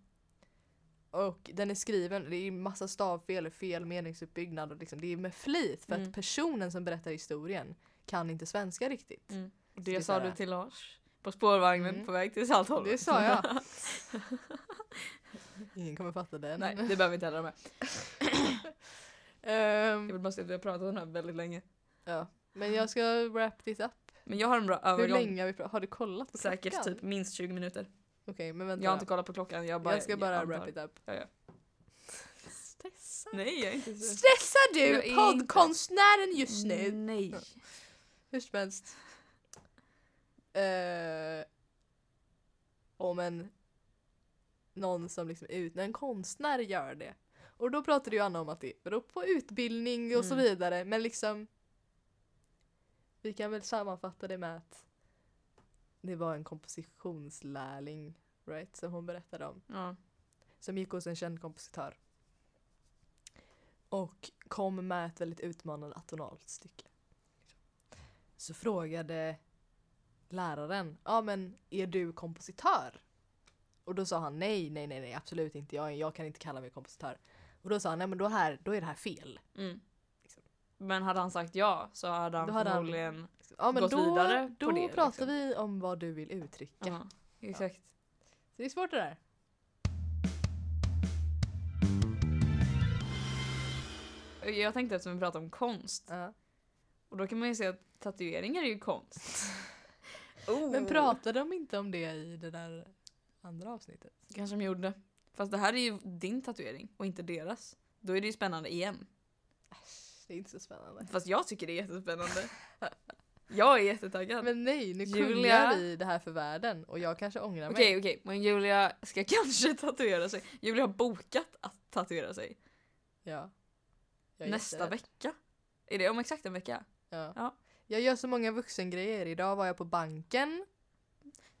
B: Och den är skriven, det är ju massa stavfel och fel meningsuppbyggnad och liksom, det är med flit för
A: Mm.
B: att personen som berättar historien kan inte svenska riktigt.
A: Mm.
B: Så det är
A: Det
B: så
A: sa
B: här-
A: du till Lars på spårvagnen
B: Mm.
A: på väg till Saltholm.
B: Det sa jag. Ingen kommer fatta
A: *laughs*
B: den.
A: Nej, det behöver vi inte heller med.
B: Ehm,
A: Jag vill bara säga att vi har pratat om det här väldigt länge.
B: ja. Men jag ska wrap this up.
A: Men jag har en bra
B: Hur
A: övergång.
B: länge har vi pratat? Har du kollat på
A: Säkert
B: klockan?
A: typ minst 20 minuter.
B: Okej, men vänta.
A: Jag har inte kollat på klockan. Jag, bara,
B: jag ska bara
A: antar.
B: wrap it up.
A: Ja, ja.
B: Stressa.
A: Nej, jag är inte så.
B: Stressar
A: Jag
B: du
A: är
B: poddkonstnären just nu?
A: Nej.
B: Hur som helst. Eh, om en någon som liksom är ut, när en konstnär gör det. Och då pratade ju Anna om att det beror på utbildning och så
A: Mm.
B: vidare men liksom vi kan väl sammanfatta det med att det var en kompositionslärling right, som hon berättade om
A: Ja.
B: som gick hos en känd kompositör. Och kom med ett väldigt utmanande atonalt stycke. Så frågade läraren, ja men är du kompositör? Och då sa han nej, nej, nej, nej absolut inte, jag, jag kan inte kalla mig kompositör. Och då sa han, nej men då, här, då är det här fel.
A: Mm.
B: Liksom.
A: Men hade han sagt ja så hade han
B: Då hade han-
A: förmodligen...
B: Ja men
A: Gått
B: då,
A: vidare på
B: då
A: det,
B: pratar
A: liksom.
B: vi om vad du vill uttrycka.
A: Ja, exakt.
B: Så det är svårt det där.
A: Jag tänkte eftersom vi pratar om konst.
B: Ja.
A: Och då kan man ju se att tatueringar är ju konst. oh.
B: *laughs* Men pratade de inte om det i det där andra avsnittet?
A: Kanske de gjorde. Fast det här är ju din tatuering och inte deras. Då är det ju spännande igen.
B: Äsch, det är inte så spännande.
A: Fast jag tycker det är jättespännande. *laughs* jag är jättetaggad.
B: Men nej, nu
A: Julia.
B: kungar vi det här för världen och jag kanske ångrar mig.
A: Okej, okej. Men Julia ska kanske *laughs* tatuera sig. Julia har bokat att tatuera sig.
B: Ja. Jag är
A: Nästa
B: jätterädd.
A: vecka. Är det om exakt en vecka?
B: Ja.
A: Ja.
B: Jag gör så många vuxengrejer. Idag var jag på banken,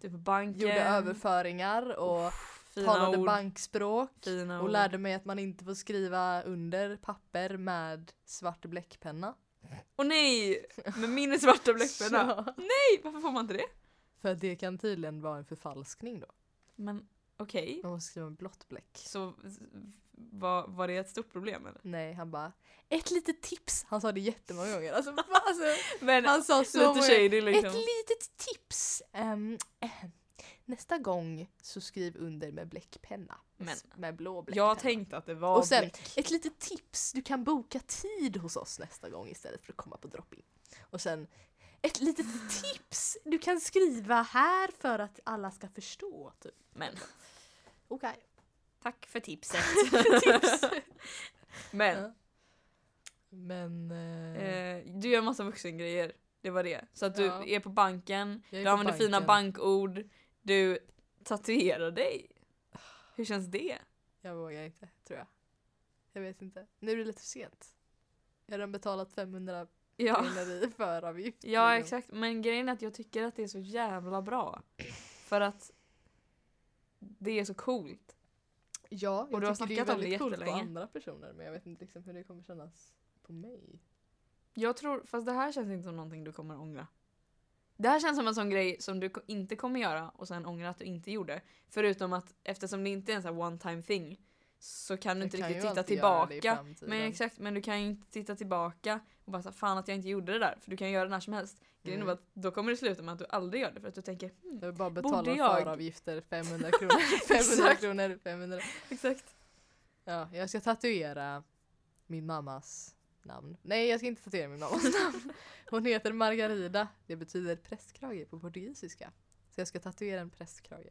A: Typ på banken.
B: gjorde överföringar och
A: Fina
B: talade
A: ord.
B: bankspråk.
A: fina
B: Och
A: ord.
B: lärde mig att man inte får skriva under papper med svart bläckpenna.
A: Åh *laughs* nej! Med min svarta bläckpenna.
B: Ja.
A: Nej, varför får man inte det?
B: *laughs* För att det kan tydligen vara en förfalskning då.
A: Men okej.
B: Man måste skriva med blått bläck.
A: Så var, var det ett stort problem eller?
B: Nej, han bara ett litet tips. Han sa det jättemånga gånger. Alltså, *laughs* va? alltså,
A: Men
B: han sa så
A: lite
B: många
A: shady
B: Ett
A: liksom.
B: litet tips. Ehm, *clears throat* eh, nästa gång så skriv under med bläckpenna.
A: Men-
B: S- med blå bläckpenna.
A: Jag tänkte att det var
B: Och sen,
A: bläck.
B: ett litet tips. Du kan boka tid hos oss nästa gång istället för att komma på dropping. Och sen,
A: *sighs*
B: ett litet tips. Du kan skriva här för att alla ska förstå. Typ.
A: Men
B: Okej.
A: *laughs*
B: *laughs*
A: tack för tipset.
B: tips.
A: *laughs* Men
B: Men... Eh,
A: eh, du gör massa vuxengrejer. Det var det. Så att du
B: Ja.
A: är på banken,
B: jag är
A: du
B: på
A: använder fina
B: banken.
A: bankord, du tatuerar dig. Hur känns det?
B: Jag vågar inte, tror jag. Jag vet inte. Nu är det lite för sent. Jag har redan betalat 500
A: Ja.
B: kronor i
A: *laughs*
B: föravgift.
A: Ja
B: liksom.
A: exakt, men grejen är att jag tycker att det är så jävla bra. För att det är så coolt.
B: Ja, jag
A: du har
B: tycker
A: snackat om det
B: väldigt coolt på
A: jättelänge.
B: andra personer men jag vet inte liksom hur det kommer kännas på mig.
A: Jag tror, fast det här känns inte som någonting du kommer ångra. Det här känns som en sån grej som du ko- inte kommer göra och sen ångra att du inte gjorde. Förutom att eftersom det inte är en sån här one time thing så kan du inte
B: Jag kan
A: riktigt
B: ju
A: titta
B: alltid göra det i
A: tillbaka.
B: framtiden.
A: Men exakt, men du kan ju inte titta tillbaka och bara så här, fan att jag inte gjorde det där. För du kan göra det när som helst. Grejen är
B: Mm.
A: bara att då kommer det sluta med att du aldrig gör det för att du tänker *laughs* hmm,
B: Jag vill bara
A: Borde
B: betala
A: jag?
B: föravgifter 500
A: *laughs*
B: kronor. 500
A: Exakt.
B: kronor, 500.
A: Exakt.
B: Ja, jag ska tatuera min mammas namn. Nej, jag ska inte tatuera min mammas *laughs* namn. Hon heter Margarida. Det betyder prästkrage på portugisiska. Så jag ska tatuera en prästkrage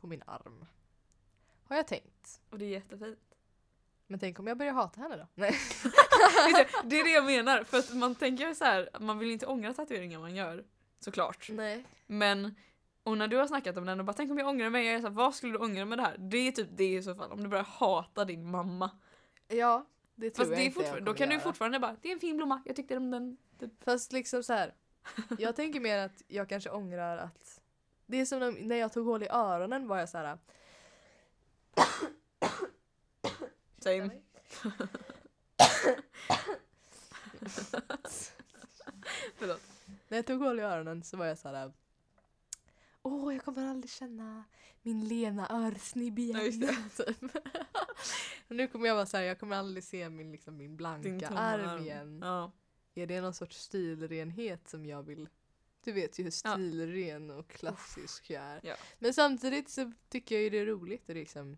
B: på min arm. Har jag tänkt.
A: Och det är
B: *laughs*
A: jättefint.
B: Men tänk om jag börjar hata henne då? *laughs* Nej.
A: Vet du, det är det jag menar, för att man tänker så här, att man vill inte ångra tatueringar man gör. Såklart.
B: Nej.
A: Men, och när du har snackat om den och bara tänk om jag ångrar mig, jag är så här, vad skulle du ångra med det här? Det är typ det i så fall, om du börjar hata din mamma.
B: Ja, det tror
A: Fast
B: jag
A: det är
B: inte jag
A: fortfarande, då
B: kommer
A: kan du
B: göra.
A: fortfarande bara, det är en fin blomma, jag tyckte om den. Typ.
B: Fast liksom så här. Jag tänker mer att jag kanske ångrar att det är som när- när jag tog hål i öronen var jag så här.
A: Same.
B: När jag tog hål i öronen så var jag så här. åh jag kommer aldrig känna min Lena Örsnibb igen.
A: Ja, just det.
B: Typ. *laughs* Och nu kommer jag vara såhär, jag kommer aldrig se min, liksom, min
A: Din
B: blanka
A: tomma
B: arm
A: arm.
B: igen.
A: Ja.
B: Är det någon sorts stilrenhet som jag vill du vet ju hur
A: Ja.
B: stilren och klassisk jag är.
A: Ja.
B: Men samtidigt så tycker jag ju det är roligt och liksom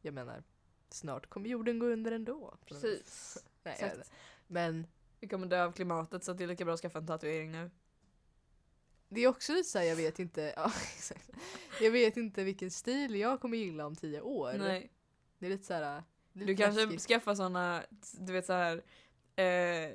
B: Jag menar, snart kommer jorden gå under ändå.
A: Precis.
B: Nej, jag
A: Exakt.
B: vet inte. Men
A: Vi kommer dö av klimatet så att det är lika bra att skaffa en tatuering nu.
B: Det är också lite såhär, jag vet inte, *laughs* ja, exakt. jag vet inte vilken stil jag kommer gilla om tio år.
A: Nej.
B: Det är lite såhär, lite
A: Du kanske
B: läskigt.
A: skaffar såna, du vet så här eh,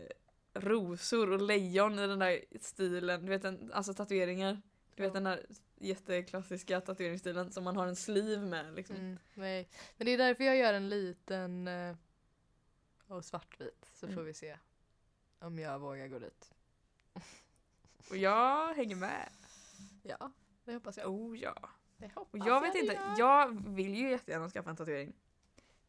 A: rosor och lejon i den där stilen, du vet en, alltså tatueringar. Du vet
B: Ja.
A: den där jätteklassiska tatueringsstilen som man har en sliv med liksom.
B: Mm, nej. Men det är därför jag gör en liten eh, och svartvit, så
A: Mm.
B: får vi se om jag vågar gå dit.
A: Och jag hänger med.
B: Ja, det hoppas jag.
A: Oh ja.
B: Det
A: Och
B: hoppas
A: jag vet
B: det
A: inte,
B: gör.
A: jag vill ju jättegärna skaffa en tatuering.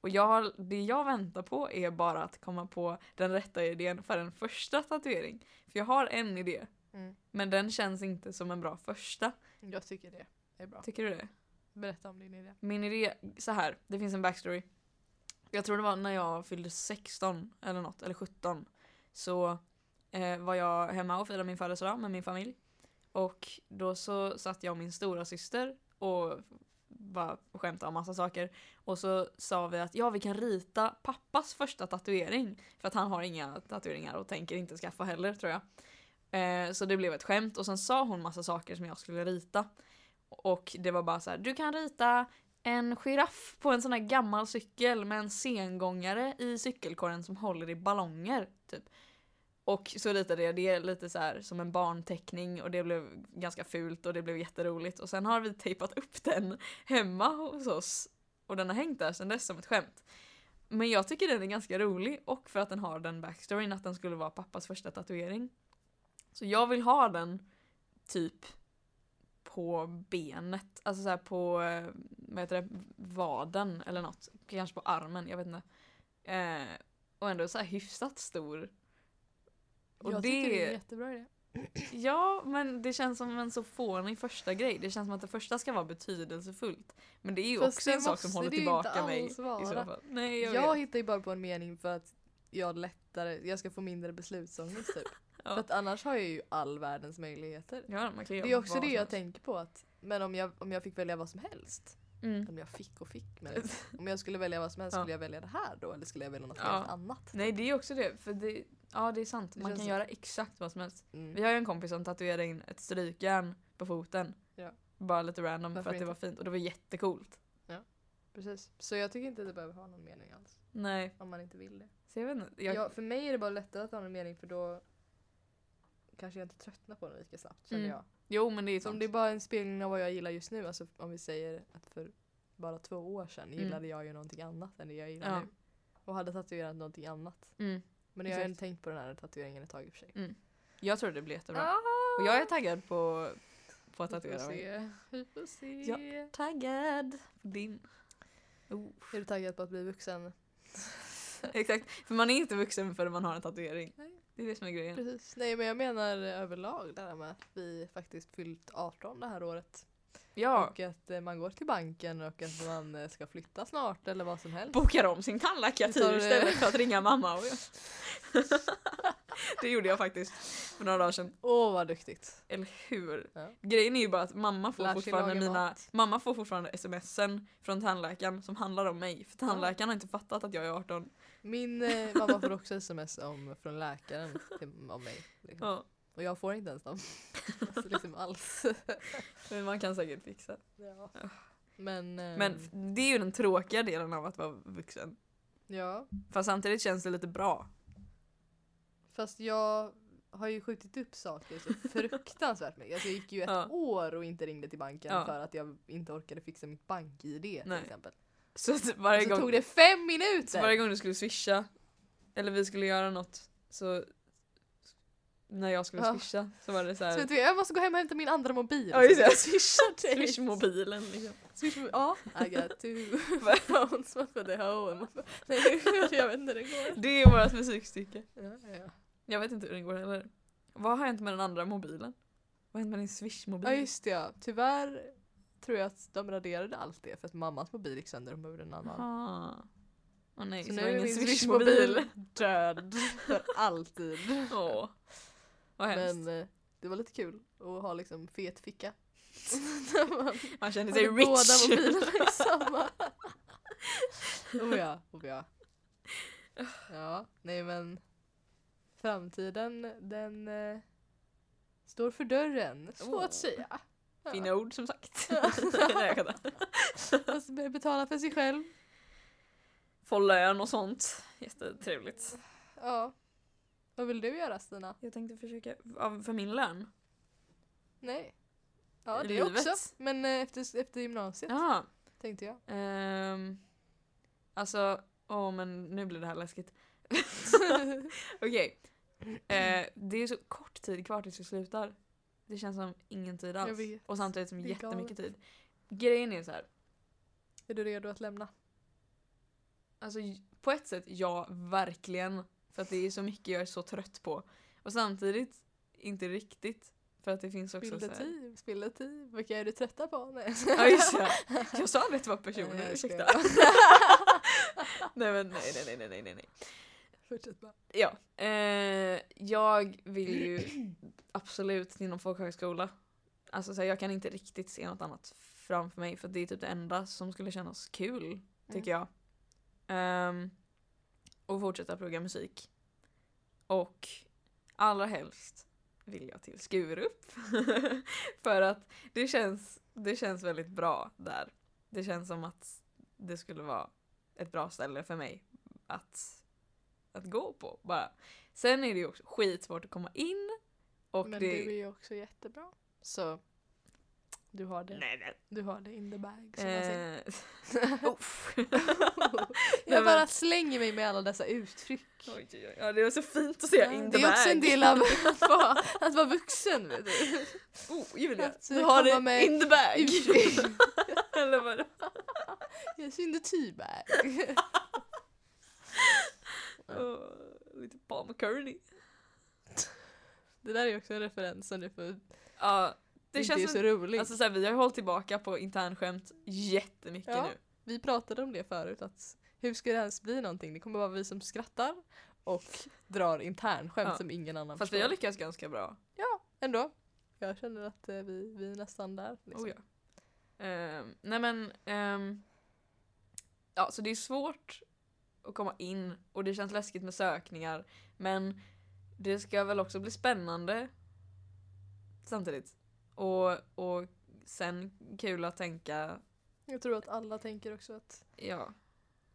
A: Och jag, har- det jag väntar på är bara att komma på den rätta idén för en första tatuering. För jag har en idé,
B: Mm,
A: men den känns inte som en bra första.
B: jag tycker det är bra.
A: Tycker du det?
B: Berätta om din idé.
A: Min idé, så här, det finns en backstory. Jag tror det var när jag fyllde 16 eller något, eller 17. Så eh, var jag hemma och firade min födelsedag med min familj. Och då så satt jag och min stora syster och bara skämtade om massa saker. Och så sa vi att ja, vi kan rita pappas första tatuering. För att han har inga tatueringar och tänker inte skaffa heller tror jag. Eh, så det blev ett skämt och sen sa hon massa saker som jag skulle rita. Och det var bara så här, du kan rita en giraff på en sån här gammal cykel med en sengångare i cykelkorgen som håller i ballonger. Typ. Och så ritade jag det lite så här som en barnteckning och det blev ganska fult och det blev jätteroligt. Och sen har vi tejpat upp den hemma hos oss och den har hängt där sedan dess som ett skämt. Men jag tycker den är ganska rolig och för att den har den backstoryn att den skulle vara pappas första tatuering. Så jag vill ha den typ på benet, alltså så här på eh, vad heter det, vaden eller något. Kanske på armen, jag vet inte. Eh, och ändå så här hyfsat stor. Och
B: jag tycker det är en jättebra idé.
A: Ja, men det känns som en så fånig första grej. Det känns som att det första ska vara betydelsefullt. Men det är ju
B: Fast
A: också
B: det
A: en sak som
B: måste
A: håller
B: det ju
A: tillbaka
B: inte
A: mig. I
B: alls vara.
A: så fall. Nej, jag,
B: Jag
A: vet.
B: hittar ju bara på en mening för att jag lättare, jag ska få mindre beslutsångest typ.
A: *laughs* Ja.
B: För att annars har jag ju all världens möjligheter.
A: Ja, man kan ju
B: Det är
A: göra
B: också
A: vad
B: det
A: som
B: jag
A: helst.
B: tänker på att, men om jag, om jag fick välja vad som helst.
A: Mm.
B: Om jag fick och fick men om jag skulle välja vad som helst
A: Ja.
B: skulle jag välja det här då eller skulle jag välja något
A: Ja.
B: helt annat?
A: Nej, det är också det. För det, ja, det är sant.
B: Det
A: Man
B: känns
A: kan
B: så.
A: göra exakt vad som helst. Vi
B: Mm.
A: har ju en kompis som tatuerade in ett strykjärn på foten.
B: Ja.
A: Bara lite random
B: Varför
A: för att det
B: inte?
A: var fint. Och det var jättecoolt.
B: Precis. Så jag tycker inte att det behöver ha någon mening alls
A: Nej,
B: om man inte vill det.
A: så jag vet inte. Jag,
B: Ja, för mig är det bara lättare att ha någon mening för då kanske jag inte tröttnar på den lika snabbt känner
A: Mm.
B: jag.
A: Jo, men det är
B: Så om
A: sant.
B: det är bara en spegling av vad jag gillar just nu, alltså om vi säger att för bara två år sedan
A: Mm.
B: gillade jag ju någonting annat än det jag gillar
A: Ja.
B: nu. Och hade tatuerat någonting annat.
A: Mm.
B: Men jag har ju
A: Exakt.
B: inte tänkt på den här tatueringen ett tag i och för sig.
A: Jag tror det blir jättebra.
B: Ah!
A: Och jag är taggad på, på att
B: Vi får
A: tatuera mig.
B: se. Vi får se.
A: Ja. Taggad på din. Oh.
B: Är du taggad på att bli vuxen?
A: *laughs* Exakt, för man är inte vuxen förrän man har en tatuering.
B: Nej.
A: Det är det som är grejen.
B: Precis. Nej men jag menar överlag det här med att vi faktiskt fyllt 18 det här året.
A: Ja,
B: Och att eh, man går till banken och att man eh, ska flytta snart eller vad som helst.
A: bokar om sin
B: Tar eh,
A: tandläkartid
B: du-
A: istället för att ringa mamma. Och jag.
B: *laughs*
A: det gjorde jag faktiskt för några dagar sedan.
B: Åh vad duktigt.
A: Eller hur?
B: Ja.
A: Grejen är ju bara att mamma
B: Lär
A: får
B: sig
A: fortfarande
B: laga
A: mina
B: mat.
A: mamma får fortfarande smsen från tandläkaren som handlar om mig. För tandläkaren har inte fattat att jag är
B: Mm.
A: 18.
B: Min eh, mamma får också sms om, från läkaren till, om mig. Liksom.
A: Ja,
B: Och jag får inte ens *laughs* dem. Alltså, liksom alls.
A: men man kan säkert fixa.
B: ja. Men, eh,
A: Men f- det är ju den tråkiga delen av att vara vuxen.
B: ja.
A: Fast samtidigt känns det lite bra.
B: Fast jag har ju skjutit upp saker så fruktansvärt mycket. Alltså jag gick ju ett
A: Ja.
B: år och inte ringde till banken
A: Ja.
B: för att jag inte orkade fixa mitt bank-id till
A: Nej.
B: exempel.
A: Så att
B: Och
A: varje
B: så
A: gång
B: tog det fem
A: Så
B: minuter!
A: varje gång du skulle swisha, eller vi skulle göra något, så när jag skulle
B: Ja.
A: swisha så var det så
B: Så jag
A: här.
B: tänkte, jag måste gå hem och hämta min andra mobil.
A: Ja, just
B: Så
A: det.
B: jag swishar dig.
A: Swish-mobilen
B: *laughs*
A: liksom.
B: Swish mo- ja. I got two
A: *laughs*
B: phones for the home. Nej, jag vet inte hur det går.
A: Det är vårt musikstycke.
B: Ja, ja.
A: Jag vet inte hur den går heller. Vad har hänt med den andra mobilen? Vad hände med din
B: Ja
A: swish-mobil?
B: just det ja. Tyvärr tror jag att de raderade allt det för att mammas mobil gick sönder och behövde en annan.
A: Jaha. Åh nej,
B: Så
A: så,
B: nu
A: det var
B: är
A: ingen
B: min
A: swish-mobil.
B: swish-mobil död för alltid.
A: *laughs* Åh. Vad hemskt.
B: Men eh, det var lite kul att ha liksom
A: *laughs*
B: fet ficka.
A: Man känner
B: Man
A: sig
B: hade Båda
A: rich.
B: mobilerna i samma. oh ja, oh ja. Ja, nej men. Framtiden den eh, står för dörren. Svårt
A: Åh.
B: att säga. *laughs*
A: *laughs*
B: Ja.
A: Fina ord som
B: *laughs*
A: sagt. Nej, jag skämtar.
B: Man ska börja betala för sig själv.
A: Få lön och sånt. Jättetrevligt.
B: Ja. Vad vill du göra Stina?
A: Jag tänkte försöka, av- för min lön?
B: Nej. Ja,
A: I
B: det
A: livet.
B: också. Men eh, efter, efter gymnasiet
A: Ja.
B: tänkte jag.
A: Ehm, alltså, åh men nu blir det här *laughs* läskigt. Okej. Eh, det är så kort tid kvar tills vi slutar. Det känns som ingen tid
B: Jag
A: alls.
B: vet.
A: Och samtidigt som
B: Det är
A: jättemycket tid. Grejen är så här.
B: Är du redo att lämna?
A: Alltså j- på ett sätt ja, verkligen. För att det är så mycket jag är så trött på. Och samtidigt inte riktigt. För att det finns också så
B: Spilla
A: här.
B: tid, spilla tid. Vilka är du trötta på? Nej.
A: Ja just det. Jag sa rätt vad
B: Nej,
A: personer,
B: jag
A: ursäkta. *laughs* nej men nej nej nej nej nej nej.
B: *laughs* Fortsätt bara.
A: Ja. Eh, jag vill ju absolut till någon folkhögskola. Alltså så här, jag kan inte riktigt se något annat framför mig för det är typ det enda som skulle kännas kul, tycker
B: Mm.
A: jag. Ehm, och fortsätta plugga musik. Och allra helst vill jag till Skurup. *laughs* för att det känns, det känns väldigt bra där. Det känns som att det skulle vara ett bra ställe för mig att, att gå på. Bara. Sen är det ju också skitsvårt att komma in. Och
B: Men
A: det,
B: du är ju också jättebra. Så du har det.
A: Nej, nej.
B: Du har det in the bag som jag säger.
A: Eh, uff.
B: *laughs* Jag
A: men-
B: bara slänger mig med alla dessa uttryck.
A: *laughs* Oj, oj, oj. Ja, det var så fint att säga in
B: det
A: the
B: är
A: bag.
B: också en
A: *laughs*
B: del av att vara, att vara vuxen. Vet du.
A: Oh, Julia,
B: Att
A: du har
B: komma
A: det
B: med
A: in the bag.
B: Uttryck.
A: *laughs* Eller vad?
B: Jag typ
A: *laughs*
B: synde tybag.
A: Åh, lite Paul McCartney.
B: Det där är också en referens som du får, det
A: Ja, det
B: inte
A: känns
B: är
A: som-
B: så roligt.
A: Alltså såhär, vi har ju hållit tillbaka på internskämt jättemycket
B: Ja.
A: nu.
B: Vi pratade om det förut, att hur ska det ens bli någonting? Det kommer vara vi som skrattar och drar internskämt
A: Ja.
B: som ingen annan
A: Fast vi har lyckats ganska bra.
B: Ändå. Jag känner att eh, vi, vi är nästan där. liksom.
A: Oh, ja. Ehm, nej men, ehm, ja så det är svårt att komma in och det känns läskigt med sökningar. Men det ska väl också bli spännande samtidigt. Och, och sen kul att tänka,
B: Jag tror att alla tänker också att
A: ja,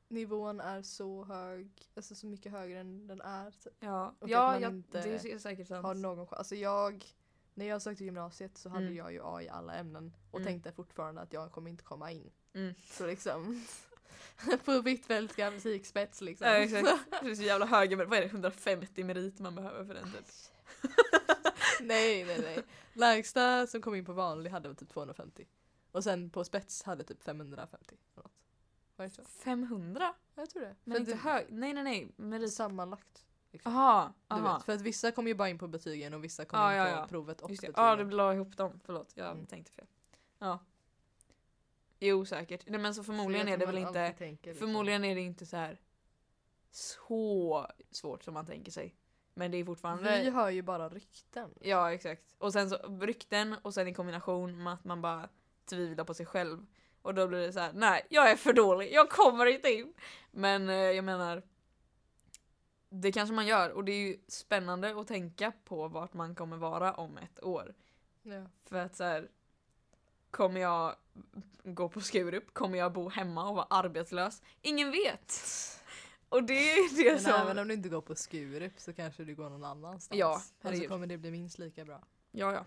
B: nivån är så hög, alltså så mycket högre än den är. Så
A: ja,
B: Och att
A: ja
B: man
A: jag,
B: inte
A: det är säkert sant.
B: Har någon chans. Alltså jag, när jag sökte gymnasiet så hade
A: Mm.
B: jag ju A i alla ämnen och
A: Mm.
B: tänkte fortfarande att jag kommer inte komma in.
A: Mm.
B: Så liksom, *laughs* på Hvitfeldtska musikspets liksom.
A: Ja exakt, det är så jävla höga, vad är det, 150 merit man behöver för den typ.
B: *laughs* Nej, nej, nej. Lägsta som kom in på vanlig hade väl typ 250. Och sen på spets hade typ 550. eller något. Var
A: *laughs*
B: det så?
A: 500?
B: Jag tror det.
A: Men
B: För
A: inte
B: det-
A: hög, nej nej nej, merit.
B: Sammanlagt. liksom.
A: Aha,
B: Du
A: aha.
B: vet, för att vissa kom ju bara in på betygen och vissa kom
A: Ja,
B: in
A: ja,
B: på
A: ja.
B: provet och
A: Just det.
B: betygen.
A: Ja, du la ihop dem. Förlåt, jag
B: Mm.
A: tänkte fel. Ja. Jo, säkert. Nej, men så förmodligen
B: Så jag
A: är det
B: tror
A: väl
B: man
A: inte...
B: alltid tänker liksom.
A: Förmodligen är det inte så här så svårt som man tänker sig. Men det är fortfarande...
B: Vi hör ju bara rykten.
A: Ja, exakt. Och sen så rykten och sen i kombination med att man bara tvivlar på sig själv. Och då blir det så här: nej, jag är för dålig, jag kommer inte in. Men eh, jag menar, det kanske man gör och det är ju spännande att tänka på vart man kommer vara om ett år.
B: Ja.
A: För att så här, kommer jag gå på Skurup? Kommer jag bo hemma och vara arbetslös? Ingen vet! Och det är det
B: Men även
A: som...
B: om du inte går på Skurup så kanske du går någon annanstans.
A: Ja,
B: och så
A: herregud.
B: kommer det bli minst lika bra.
A: Ja, ja.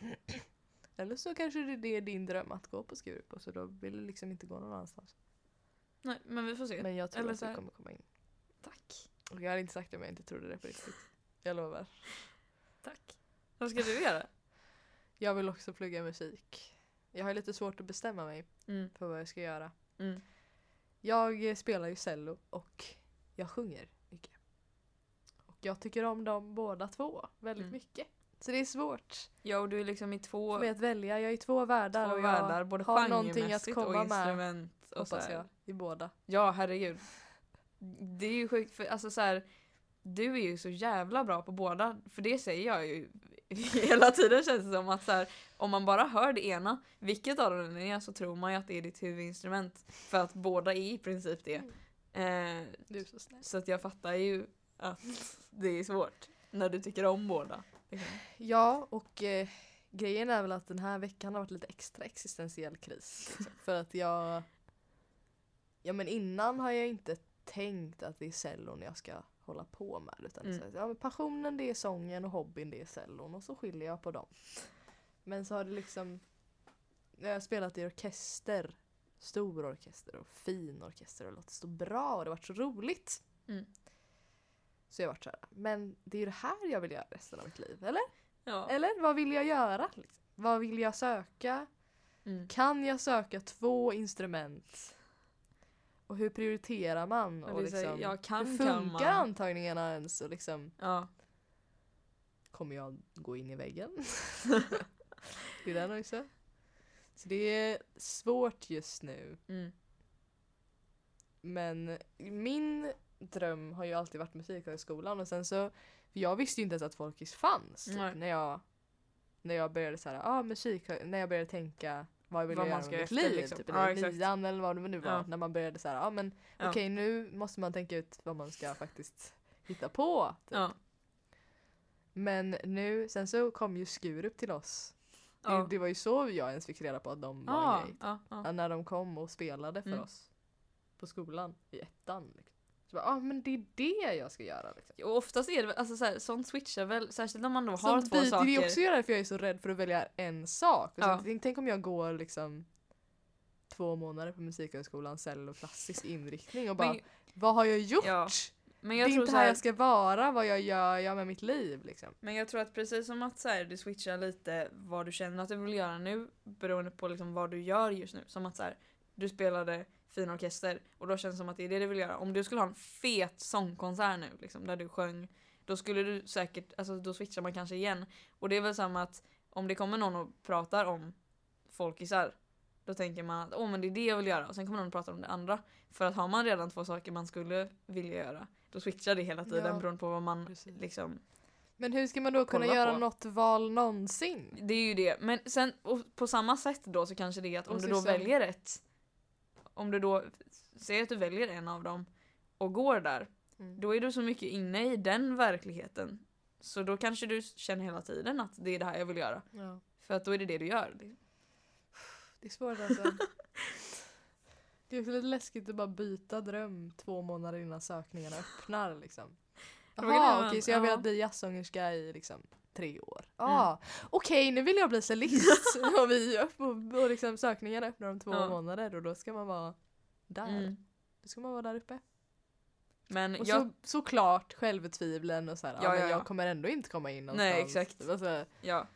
B: Eller så kanske det är det din dröm att gå på Skurup och så då vill du liksom inte gå någon annanstans.
A: Nej, men vi får se.
B: Men jag tror
A: Eller
B: att
A: så
B: du
A: här-
B: kommer komma in.
A: Tack.
B: Och jag hade inte sagt det om jag inte trodde det på riktigt. Jag lovar.
A: Tack. Vad ska du göra?
B: Jag vill också plugga musik. Jag har lite svårt att bestämma mig
A: Mm,
B: för vad jag ska göra.
A: mm.
B: Jag eh, spelar ju cello och jag sjunger mycket. Och jag tycker om dem båda två väldigt
A: Mm.
B: mycket. Så det är svårt
A: Ja och du är liksom i två,
B: för mig att välja. Jag är i två världar
A: två
B: och jag
A: världar, både
B: har någonting att
A: genremässigt och
B: komma med,
A: instrument. Och så
B: hoppas
A: här.
B: jag i båda.
A: Ja herregud. Det är ju sjukt för alltså så här, du är ju så jävla bra på båda. För det säger jag ju *laughs* hela tiden känns det som att så här, om man bara hör det ena, vilket av dem det är, så tror man ju att det är ditt huvudinstrument. För att båda är i princip det. Eh,
B: Du är så snäll.
A: så att jag fattar ju att det är svårt när du tycker om båda.
B: Ja, och eh, grejen är väl att den här veckan har varit lite extra existentiell kris.
A: *laughs*
B: liksom. för att jag... Ja men innan har jag inte tänkt att det är cellon jag ska hålla på med. Utan
A: Mm.
B: så att, ja, men passionen det är sången och hobbyn det är cellon och så skiljer jag på dem. Men så har det liksom... Jag har spelat i orkester. Stor orkester och fin orkester och låtit så bra och det har varit så roligt.
A: Mm.
B: Så jag har varit såhär, men det är ju det här jag vill göra resten av mitt liv, eller?
A: Ja.
B: *laughs* Eller vad vill jag göra? Liksom? Vad vill jag söka?
A: Mm.
B: Kan jag söka två instrument? Och hur prioriterar man?
A: Och
B: Och
A: det är så här,
B: liksom,
A: jag kan,
B: hur
A: kan
B: funkar
A: man.
B: antagningarna ens? Och liksom,
A: Ja.
B: kommer jag gå in i
A: *laughs*
B: väggen? det är den också. Så det är svårt just nu.
A: Mm.
B: Men min dröm har ju alltid varit musikhögskolan och sen så för jag visste ju inte ens att Folkis fanns typ,
A: Nej.
B: när jag när jag började så här, ah, musik, när jag började tänka vad jag ville
A: Vad man
B: göra
A: ska
B: med mitt
A: efter,
B: liv
A: liksom.
B: typ,
A: Ja,
B: eller
A: exakt.
B: nian eller vad det nu var
A: Ja.
B: när man började så här, ah, men
A: Ja.
B: okej nu måste man tänka ut vad man ska faktiskt hitta på. Typ.
A: Ja.
B: Men nu, sen så kom ju Skurup till oss. Det,
A: Ja.
B: det var ju så jag ens fick reda på att de var en
A: Ja.
B: grej.
A: Ja. Ja.
B: Ja, när de kom och spelade för
A: Mm.
B: oss på skolan i ettan. Liksom. Så bara, ah, men det är det jag ska göra. Liksom.
A: Och oftast är det väl, alltså så här, sånt switchar väl, särskilt när man då har
B: Sånt
A: två
B: byter vi
A: saker.
B: också göra för jag är så rädd för att välja en sak. Och
A: Ja.
B: sen, tänk, tänk om jag går liksom två månader på Musikhögskolan cell och klassisk inriktning och bara
A: Men,
B: vad har jag gjort?
A: Ja, men
B: det
A: jag
B: är
A: tror
B: inte
A: så
B: här
A: här,
B: jag ska vara, vad jag gör jag med mitt liv liksom.
A: men jag tror att precis som att så här, du switchar lite vad du känner att du vill göra nu beroende på liksom vad du gör just nu. Som att så här, du spelade fin orkester och då känns det som att det är det du vill göra. Om du skulle ha en fet sångkonsert nu liksom, där du sjöng, då skulle du säkert, alltså då switchar man kanske igen. Och det är väl samma att om det kommer någon och pratar om folkisar då tänker man att åh men det är det jag vill göra och sen kommer någon och pratar om det andra. För att har man redan två saker man skulle vilja göra då switchar det hela tiden
B: Ja.
A: beroende på vad man
B: Precis.
A: liksom
B: Men hur ska man då kunna
A: Kolla
B: göra
A: på.
B: något val någonsin?
A: Det är ju det. Men sen och på samma sätt då så kanske det är att om
B: Och
A: du då
B: sysslan.
A: väljer ett. Om du då säger att du väljer en av dem och går där.
B: Mm.
A: Då är du så mycket inne i den verkligheten. Så då kanske du känner hela tiden att det är det här jag vill göra.
B: Ja.
A: För att då är det det du gör.
B: Det är
A: *laughs*
B: svårt alltså. Det är också lite läskigt att bara byta dröm två månader innan sökningarna öppnar liksom.
A: Frågan är
B: Jaha
A: vad-
B: okej så jag har
A: ja.
B: velat bli jazzsångerska i liksom tre år. Ah, Okej nu vill jag
A: *laughs*
B: bli cellist och, vi upp och, och liksom sökningarna öppnar om två
A: Ja.
B: månader och då ska man vara där.
A: Mm.
B: Då ska man vara där uppe.
A: Men
B: Och
A: jag,
B: så, såklart självtvivlen och så här, ja,
A: Ja,
B: men
A: ja, ja.
B: jag kommer ändå inte komma in någonstans.
A: Nej, exakt.
B: Alltså,
A: ja,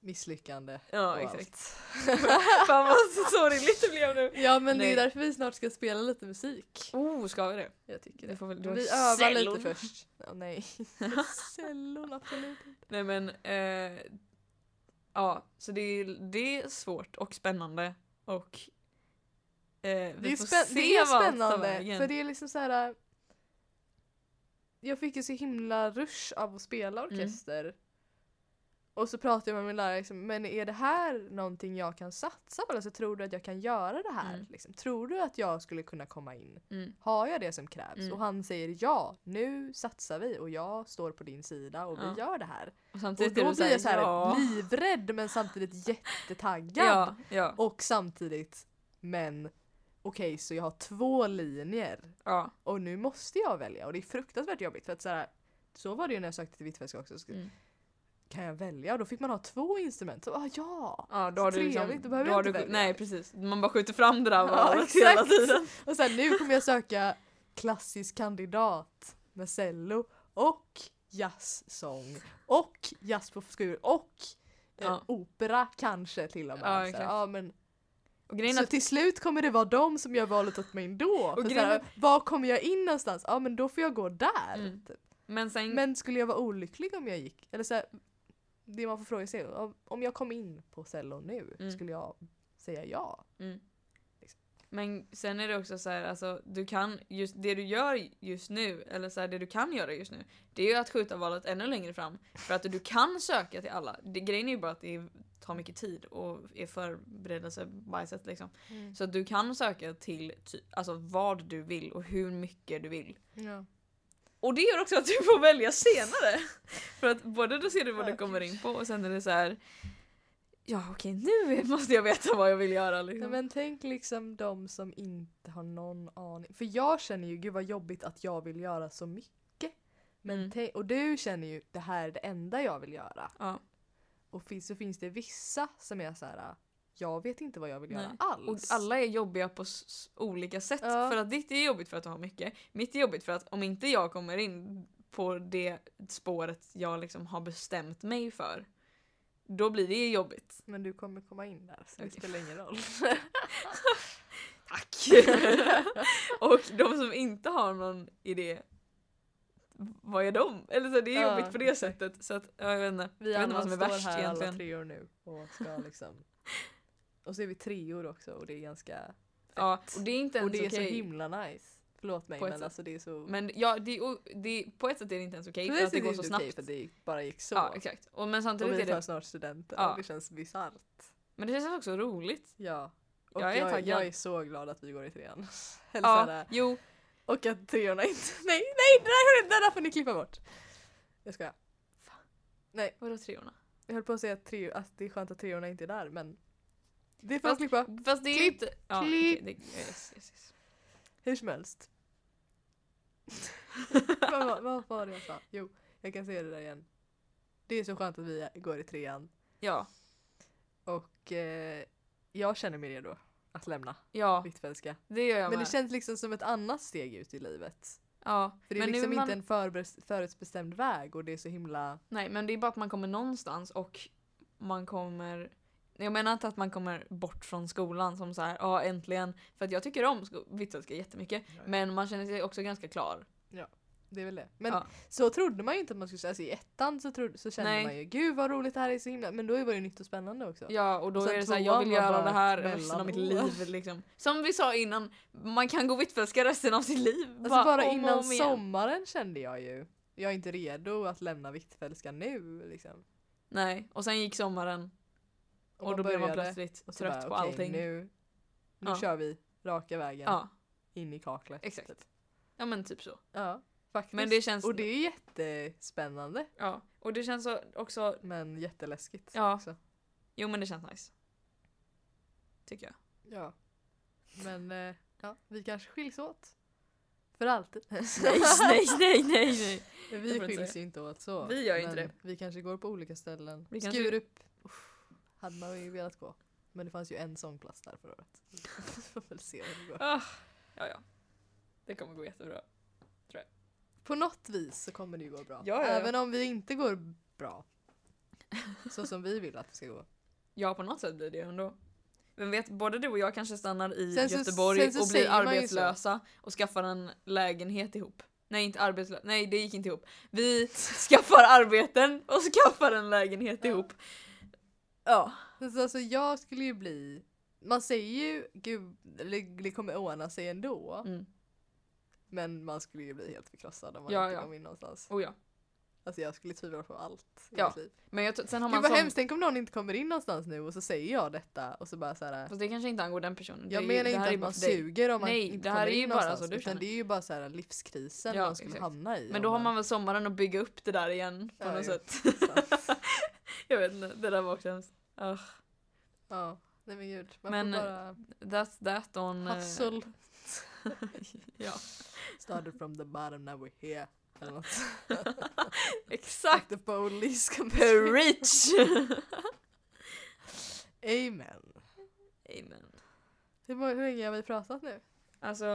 B: misslyckande.
A: ja *laughs*
B: och
A: exakt.
B: allt.
A: Fan vad sorgligt det blev nu.
B: Ja men det
A: Nej.
B: är därför vi snart ska spela lite musik.
A: Oh, ska vi det?
B: Jag tycker
A: Vi
B: det.
A: får väl,
B: vi
A: har
B: övar
A: cellon.
B: lite först. Ja, *laughs* nej. Cellon absolut.
A: Nej men, eh, ja så det är, det är svårt och spännande och eh, vi
B: Det är,
A: får
B: spä-
A: se
B: det är
A: vad allt tar
B: spännande
A: vägen.
B: för det är liksom så här. äh, Jag fick ju så himla rush av att spela orkester. Och så pratade jag med min lärare liksom, men är det här någonting jag kan satsa på? Alltså, tror du att jag kan göra det här?
A: Mm.
B: Liksom, tror du att jag skulle kunna komma in?
A: Mm,
B: Har jag det som krävs?
A: Mm.
B: Och han säger ja, nu satsar vi och jag står på din sida och
A: Ja.
B: vi gör det här.
A: och
B: Och
A: samtidigt
B: då
A: är det
B: blir jag så här
A: ja,
B: livrädd men samtidigt jättetaggad.
A: ja, ja,
B: Och samtidigt, men okej så jag har två linjer
A: ja,
B: och nu måste jag välja och det är fruktansvärt jobbigt för att så här, så var det ju när jag sökte till Hvitfeldtska också. Så,
A: Mm.
B: Kan jag välja? Och då fick man ha två instrument. Så, ah, ja!
A: ja, då
B: Så
A: har du
B: trevligt,
A: liksom,
B: då behöver jag
A: har
B: inte
A: du,
B: välja.
A: Nej precis, man bara skjuter fram det där
B: Ja,
A: valet
B: exakt.
A: hela tiden.
B: Och sen nu kommer jag söka klassisk kandidat med cello och jazzsång och jazz på skur och eh,
A: Ja.
B: opera kanske till och med.
A: Ja,
B: Så här,
A: exakt.
B: ja, men
A: Och grejen är
B: Så
A: att,
B: till slut kommer det vara de som gör valet åt mig ändå. För
A: grejen
B: såhär, var kommer jag in någonstans? Ja men då får jag gå där.
A: Mm.
B: typ.
A: men sen,
B: Men skulle jag vara olycklig om jag gick? Eller såhär, det man får fråga sig är om- om jag kom in på Cello nu,
A: Mm.
B: skulle jag säga ja?
A: Mm.
B: Liksom.
A: Men sen är det också så här, alltså, du kan, just det du gör just nu, eller så här, det du kan göra just nu, det är ju att skjuta valet ännu längre fram. För att du kan söka till alla. Det, grejen är ju bara att det tar mycket tid och är förberedelsebajset liksom.
B: Mm.
A: Så att du kan söka till ty- alltså, vad du vill och hur mycket du vill.
B: Ja.
A: Och det gör också att du får välja senare. För att både då ser du vad du
B: Ja, typ.
A: kommer
B: gud.
A: in på och sen är det så här. Ja okej nu måste jag veta vad jag vill göra liksom.
B: Nej, men tänk liksom de som inte har någon aning. För jag känner ju, gud vad jobbigt att jag vill göra så mycket. Men
A: Mm.
B: tänk, och du känner ju, det här är det enda jag vill göra.
A: Ja.
B: Och finns, så finns det vissa som är så här, äh, jag vet inte vad jag vill göra
A: Nej. Och
B: alls.
A: alla är jobbiga på s- s- olika sätt.
B: Ja.
A: För att ditt är jobbigt för att du har mycket. Mitt är jobbigt för att om inte jag kommer in på det spåret jag liksom har bestämt mig för. Då blir det jobbigt.
B: Men du kommer komma in där, så det
A: Okej.
B: spelar ingen
A: *laughs*
B: roll.
A: Tack! *laughs* och de som inte har någon idé, vad är de? Eller så, det är
B: Ja,
A: jobbigt på det
B: exakt.
A: sättet. Så att, ja, jag vet inte.
B: Vi
A: jag vet inte
B: alla
A: vad som
B: står
A: är värst
B: här alla
A: egentligen.
B: treor nu och
A: *laughs*
B: ska liksom... Och så är vi treor också och det är ganska...
A: Ja, och det är inte ens
B: Och det är
A: okej.
B: så himla nice. Förlåt mig
A: På ett
B: men
A: sätt.
B: alltså det är så...
A: Men ja, det, är o- det, är- på ett sätt är det inte ens okej för att det går så snabbt.
B: för att det bara gick så.
A: Ja, exakt. Och, men
B: och
A: samtidigt
B: vi
A: är det
B: tar snart studenten
A: Ja.
B: och det känns bisarrt.
A: Men det känns också roligt.
B: Ja. Och
A: Jag
B: jag
A: är
B: är, jag,
A: taggad.
B: är så glad att vi går i trean. *laughs* Eller så
A: Ja,
B: här, äh,
A: jo.
B: och att treorna inte... *laughs* Nej, nej, det där, det där får ni klippa bort. Jag skojar.
A: Vadå treorna?
B: Jag höll på att säga att, tre, att det är skönt att treorna inte är där men... Det får
A: Fast-
B: jag klippa.
A: Fast det är
B: Klipp,
A: inte... Ja,
B: klipp.
A: okej, det, yes, yes, yes.
B: Hur
A: *laughs*
B: som helst. vad, vad, vad var det jag sa? Jo, jag kan säga det där igen. Det är så skönt att vi går i trean
A: Ja.
B: och eh, jag känner mig redo att lämna
A: Ja,
B: Hvitfeldtska.
A: det gör jag
B: Men det
A: med.
B: känns liksom som ett annat steg ut i livet.
A: ja.
B: För det är
A: Men nu
B: liksom
A: är man-
B: inte en förbe- förutbestämd väg och det är så himla...
A: Nej, men det är bara att man kommer någonstans och man kommer... Jag menar inte att man kommer bort från skolan som så här, ja äntligen. För att jag tycker om sko- Hvitfeldtska jättemycket. Men man känner sig också ganska klar.
B: Det är väl det. Men
A: Ja.
B: så trodde man ju inte att man skulle säga. Alltså i ettan så, trodde, så kände
A: Nej.
B: man ju gud vad roligt det här är så himla... Men då var det ju nytt och spännande också.
A: Ja, och då
B: Sen
A: är det så här, jag
B: tvåan
A: vill
B: var
A: göra
B: bara
A: det
B: ett
A: här resten av mitt
B: mellanår.
A: liv. Liksom. Som vi sa innan, man kan gå Hvitfeldtska resten av sitt liv.
B: Alltså bara,
A: om och
B: innan
A: om igen.
B: sommaren kände jag ju jag är inte redo att lämna Hvitfeldtska nu liksom.
A: Nej, och sen gick sommaren och,
B: man
A: då blev man
B: började,
A: plötsligt
B: och så
A: trött
B: bara,
A: på
B: okej,
A: allting.
B: Nu, nu
A: Ja.
B: kör vi raka vägen
A: Ja,
B: in i kaklet.
A: Exakt.
B: typ.
A: ja men typ så.
B: Ja, faktiskt.
A: Men det känns-
B: Och det är jättespännande
A: Ja, och det känns så- också,
B: men jätteläskigt.
A: Ja.
B: Också.
A: jo men det känns nice. Tycker jag.
B: ja. Men eh, ja, vi kanske skiljs åt. För alltid.
A: *laughs* Nej, nej, nej, nej, nej.
B: vi
A: inte
B: skiljs
A: säga.
B: ju inte åt så.
A: Vi gör ju inte
B: men Vi kanske går på olika ställen.
A: Vi kanske-
B: Skurup uff, hade man ju velat gå. Men det fanns ju en sångplats där förra året. *laughs* Vi får väl se hur det går.
A: Ah, ja, ja. Det kommer gå jättebra.
B: På något vis så kommer det ju gå bra.
A: Ja, ja, ja.
B: Även om vi inte går bra. Så som vi vill att det ska gå.
A: Ja, på något sätt blir det ju ändå. Vem vet, både du och jag kanske stannar i
B: Sen så-
A: Göteborg
B: sen så
A: och blir
B: säger man ju så.
A: arbetslösa och skaffar en lägenhet ihop. Nej, inte arbetslösa. Nej, det gick inte ihop. Vi skaffar arbeten och *laughs* skaffar en lägenhet
B: Ja.
A: ihop. Ja.
B: Alltså, alltså jag skulle ju bli... Man säger ju gud, det, det kommer ordna sig ändå.
A: Mm.
B: Men man skulle ju bli helt förkrossad om man
A: Ja,
B: inte
A: ja.
B: kom in någonstans.
A: Oh, ja.
B: Alltså jag skulle tvivla på allt i
A: Ja.
B: mitt liv.
A: Men jag, t- sen har man
B: Gud vad
A: sån-
B: hemskt, tänk om någon inte kommer in någonstans nu och så säger jag detta och så bara så här.
A: Fast det kanske inte angår den personen.
B: Jag
A: det, är ju-
B: menar
A: det här
B: inte
A: är
B: att
A: bara
B: man
A: för dig.
B: suger om man
A: Nej,
B: inte
A: det här
B: kommer
A: är ju
B: in
A: bara så
B: någonstans.
A: du
B: utan
A: känner.
B: det är ju bara så här livskrisen
A: Ja,
B: man skulle
A: exakt.
B: hamna i.
A: Men
B: om
A: då har
B: man-
A: man väl sommaren att bygga upp det där igen på
B: Ja,
A: något
B: jo.
A: sätt. *laughs*
B: Sant.
A: Jag vet inte, det där var också hemskt. Ugh.
B: *laughs* ja, nej men gud. Man
A: Men,
B: får bara
A: That's that on... eh,
B: hustle.
A: ja,
B: Started from the bottom, now we're here. Eller något.
A: *laughs*
B: *laughs*
A: exakt.
B: The police come
A: Preach!
B: Amen.
A: *laughs* Amen.
B: Hur, må- hur länge har vi pratat nu?
A: Alltså...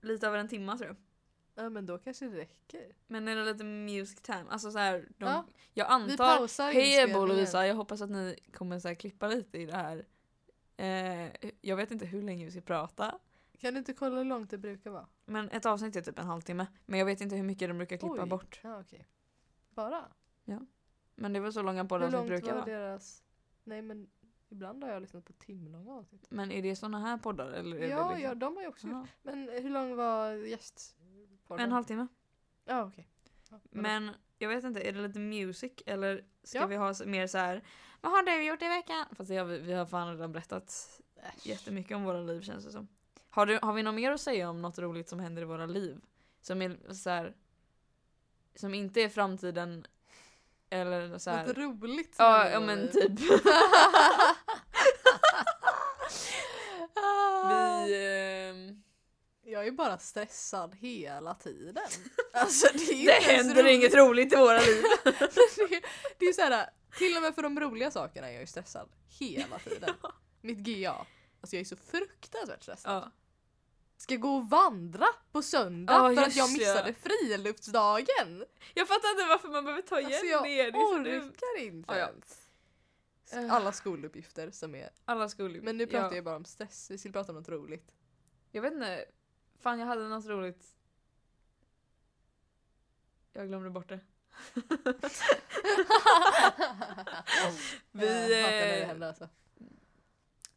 A: Lite över en timme tror jag.
B: Ja men då kanske det räcker.
A: Men är det lite music time? Alltså så här, de,
B: Ja,
A: jag
B: vi
A: antar...
B: pausar
A: Hej Ebba och
B: inspelningen.
A: Lovisa, jag hoppas att ni kommer så här klippa lite i det här. Eh, jag vet inte hur länge vi ska prata.
B: Kan du inte kolla hur långt det brukar vara?
A: Men ett avsnitt är typ en halvtimme. Men jag vet inte hur mycket de brukar klippa
B: Oj.
A: bort.
B: Ja okej. Bara?
A: Men det var så långa poddar
B: Hur
A: som
B: långt
A: brukar
B: var
A: vara.
B: deras... Nej men ibland har jag lyssnat på timlånga avsnitt.
A: Men är det såna här poddar? Eller är
B: typ. Ja,
A: det liksom?
B: ja, de har ju också gjort.
A: Aha.
B: Men hur lång var gästpodden?
A: En halvtimme.
B: Ja, okej. Ja, men då-
A: Men jag vet inte, är det lite music eller ska
B: Ja.
A: vi ha s- mer så här Vad har du gjort i veckan? Fast det har vi, vi har fan redan berättat
B: Äsch.
A: jättemycket om våra liv känns det som. Har, du, har vi något mer att säga om något roligt som händer i våra liv? Som är så här, Som inte är framtiden eller så här.
B: Något roligt. som
A: Ja,
B: händer i
A: ja
B: våra
A: men
B: liv. *laughs*
A: typ. vi, ehm,
B: Jag är bara stressad
A: *laughs*
B: hela tiden. Alltså det är ju
A: det
B: inte ens
A: händer
B: roligt.
A: inget roligt i våra liv.
B: *laughs* det, är- det är såhär, till och med för de roliga sakerna är jag ju stressad
A: *laughs*
B: hela tiden. Mitt GA. Alltså jag är så fruktansvärt stressad.
A: ja.
B: Ska gå och vandra på söndag
A: Ja,
B: för att
A: just
B: jag
A: det.
B: missade friluftsdagen.
A: Jag fattar inte varför man behöver ta igen
B: Alltså jag
A: det. det är så dumt.
B: orkar inte
A: Ja, ja.
B: ens. Alla skoluppgifter som är...
A: Alla skulle
B: Men nu pratar
A: ja.
B: jag bara om stress, vi skulle prata om
A: *laughs*
B: något roligt.
A: Jag vet inte. Fan jag hade något roligt. Jag glömde bort det. Vi,
B: Jag hatar när det
A: eh,
B: händer alltså.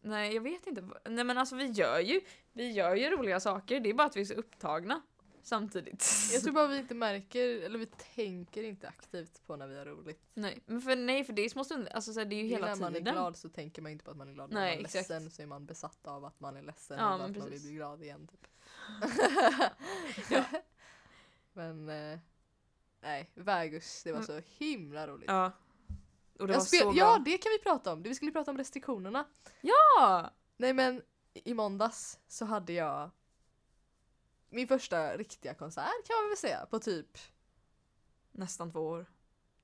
A: Nej jag vet inte. Nej men alltså vi gör ju, vi gör ju roliga saker. Det är bara att vi är så upptagna samtidigt.
B: Jag tror bara vi inte märker, eller vi tänker inte aktivt på när vi har roligt.
A: nej, men för, nej för det är små stunder. Alltså så här, det är ju hela
B: när man är
A: tiden.
B: glad så tänker man inte på att man är glad. när
A: Nej,
B: man är
A: exakt.
B: ledsen så är man besatt av att man är ledsen
A: Ja,
B: och
A: men
B: att man vill
A: precis.
B: bli glad igen. Typ.
A: *laughs* Ja.
B: *laughs* Men eh, nej, Vägus, det var så himla roligt.
A: Mm. Ja. Och det
B: Jag
A: var
B: spel-
A: så
B: ja,
A: bra.
B: det kan vi prata om. Vi skulle prata om restriktionerna.
A: Ja!
B: Nej men i måndags så hade jag min första riktiga konsert kan man väl säga på typ
A: Nästan två år.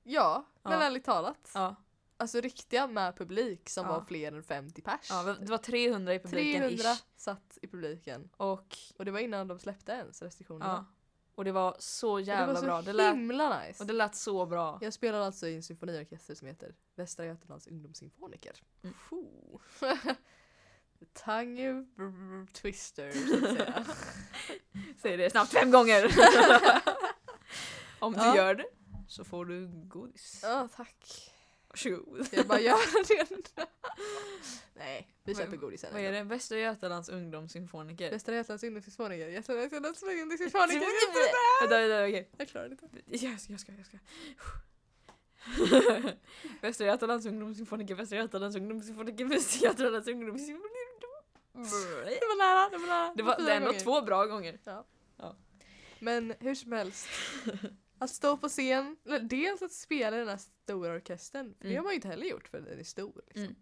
B: Ja, men
A: Ja.
B: ärligt talat.
A: Ja.
B: Alltså riktiga med publik som
A: Ja.
B: var fler än 50 pers.
A: ja det var 300 i publiken
B: 300
A: ish.
B: satt i publiken.
A: Och,
B: Och det var innan de släppte ens restriktionerna.
A: ja. och det var så
B: Och det var
A: jävla
B: så
A: bra. Det lät,
B: himla nice.
A: och det lät så bra.
B: Jag spelar alltså i en symfoniorkester som heter Västra Götalands ungdomssymfoniker.
A: Mm.
B: Foo. *laughs* Tongue br- br- twister så
A: *laughs*
B: att säga.
A: Säg det snabbt fem
B: *laughs*
A: gånger! Om du
B: Ja.
A: gör det så får du godis.
B: Ja, tack.
A: Varsågod.
B: Jag bara gör det nu. *laughs* Nej, vi
A: Vad-
B: köper godis sen.
A: Vad är det? Västra Götalands ungdomssymfoniker?
B: Västra Götalands ungdomssymfoniker. Västra
A: *laughs*
B: Götalands ungdomssymfoniker.
A: Vänta, vänta, okej.
B: Jag klarar det inte.
A: Jag ska, jag ska, *laughs* jag ska. Västra Götalands ungdomssymfoniker, Västra Götalands ungdomssymfoniker, Västra Götalands ungdomssymfoniker.
B: Det var nära, det var nära.
A: Det var det
B: fyra
A: är ändå
B: gånger.
A: två bra gånger.
B: Men hur som helst. Att stå på scen, eller dels att spela i den här stora orkestern. för Det
A: Mm.
B: har man ju inte heller gjort för den är stor. Liksom.
A: Mm.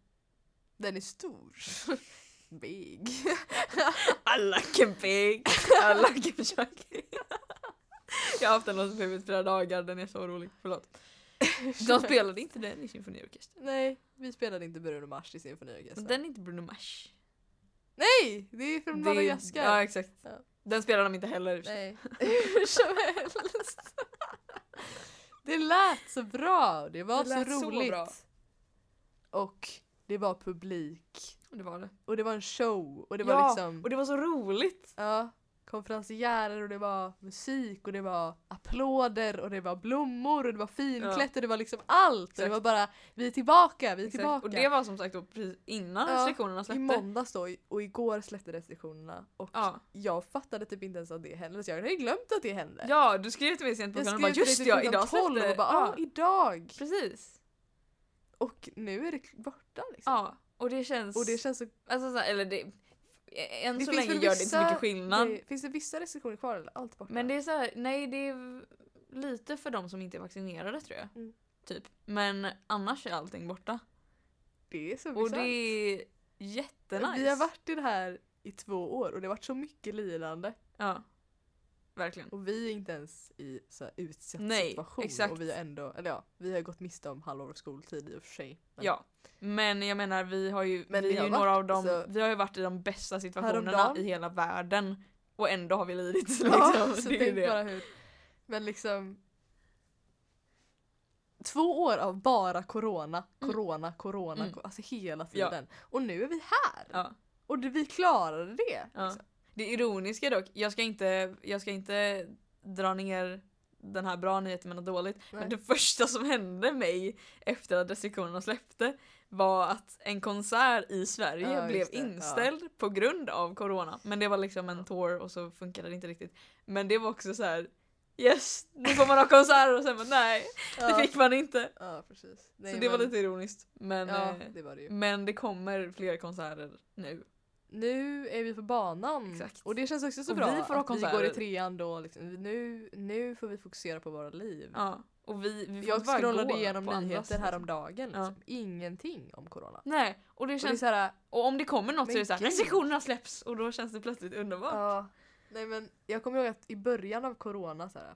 B: Den är stor. *laughs* Big.
A: Alla can big, alla can chucky. Jag har haft den låten i huvudet flera dagar, den är så rolig. Förlåt.
B: *laughs*
A: De spelade inte den i symfoniorkestern.
B: Nej, vi spelade inte Bruno Mars i symfoniorkestern.
A: Den är inte Bruno Mars.
B: Nej! Det är från
A: Det är-
B: Madagaskar. *laughs*
A: Ja exakt.
B: Ja.
A: Den spelar de inte heller.
B: Nej, hur som helst. Det lät så bra och det var
A: Det lät
B: så
A: så
B: roligt.
A: bra.
B: Och det var publik.
A: Det var det.
B: Och det var en show. Och det
A: ja,
B: var liksom...
A: och det var så roligt.
B: Ja, konferenciärer och det var musik och det var applåder och det var blommor och det var finklätt och det var liksom allt. Och det
A: Exakt.
B: var bara vi är tillbaka, vi är
A: Exakt.
B: tillbaka.
A: Och det var som sagt då precis innan
B: Ja,
A: restriktionerna
B: I
A: släppte.
B: måndags då och igår släppte restriktionerna och
A: Ja.
B: jag fattade typ inte ens att det hände så jag hade ju glömt att det hände.
A: ja, du skrev till mig sent på
B: jag
A: kvällen och bara
B: till dig
A: just
B: typ
A: ja,
B: klockan
A: idag
B: 12
A: släppte
B: och bara
A: ja,
B: ah, idag!
A: Precis.
B: Och nu är det borta liksom.
A: Ja, och det känns...
B: Och det känns så...
A: alltså, så här, eller det, än
B: Det
A: så
B: finns
A: länge
B: väl
A: gör det inte så
B: vissa-
A: mycket skillnad.
B: Det, finns det vissa restriktioner kvar eller allt borta?
A: Men det är så här, nej det är lite för de som inte är vaccinerade tror jag.
B: Mm.
A: Typ. Men annars är allting borta.
B: Det är så
A: Och
B: bisarrt.
A: det är jättenice.
B: Vi har varit i det här i två år och det har varit så mycket lirande.
A: Ja. Verkligen.
B: Och vi är inte ens i så här utsatt
A: Nej,
B: situation.
A: exakt.
B: Och vi har ändå, eller ja, vi har gått miste om halvår av skoltid i och för sig. Men *laughs*
A: Ja. Men jag menar vi har ju,
B: Men
A: vi
B: vi
A: är
B: har
A: ju några
B: varit-
A: av dem,
B: alltså-
A: vi har ju varit i de bästa situationerna
B: Häromdagen.
A: i hela världen. Och ändå har vi lidit liksom.
B: Ja, så
A: det är ju
B: tänk
A: det.
B: bara hur. Men liksom. Två år av bara corona,
A: Mm.
B: corona, corona,
A: Mm.
B: co- alltså hela
A: Ja.
B: tiden. Och nu är vi här!
A: Ja,
B: Och det- vi klarade det!
A: ja.
B: liksom.
A: Det ironiska dock, jag ska inte, jag ska inte dra ner den här bra nyheten men något dåligt.
B: Nej.
A: Men det första som hände mig efter att restriktionerna släppte var att en konsert i Sverige
B: Ja,
A: blev
B: just det. Ja.
A: inställd på grund av corona. Men det var liksom en tour och så funkade det inte riktigt. Men det var också så här. Yes, nu får man ha konserter och sen bara, nej, *laughs* det fick man inte.
B: Ja, precis.
A: Så
B: Nej,
A: det var
B: men-
A: lite ironiskt. Men,
B: Ja,
A: eh,
B: det var det ju.
A: men det kommer fler konserter nu.
B: Nu är vi på banan.
A: Exakt.
B: Och det känns också så
A: Och
B: bra
A: vi får ha
B: att vi går i
A: konserter.
B: trean då. Liksom. Nu, nu får vi fokusera på våra liv.
A: Ja. Och vi, vi får
B: Jag
A: inte bara
B: scrollade
A: gå
B: igenom
A: på andras,
B: nyheter
A: liksom.
B: häromdagen.
A: Ja.
B: Liksom. Ingenting om corona.
A: Nej, och det
B: Och det är
A: känns
B: så här,
A: Och om det kommer något så är det såhär
B: Men gud.
A: restriktionerna släpps och då känns det plötsligt underbart.
B: ja, nej men jag kommer ihåg att i början av corona så här,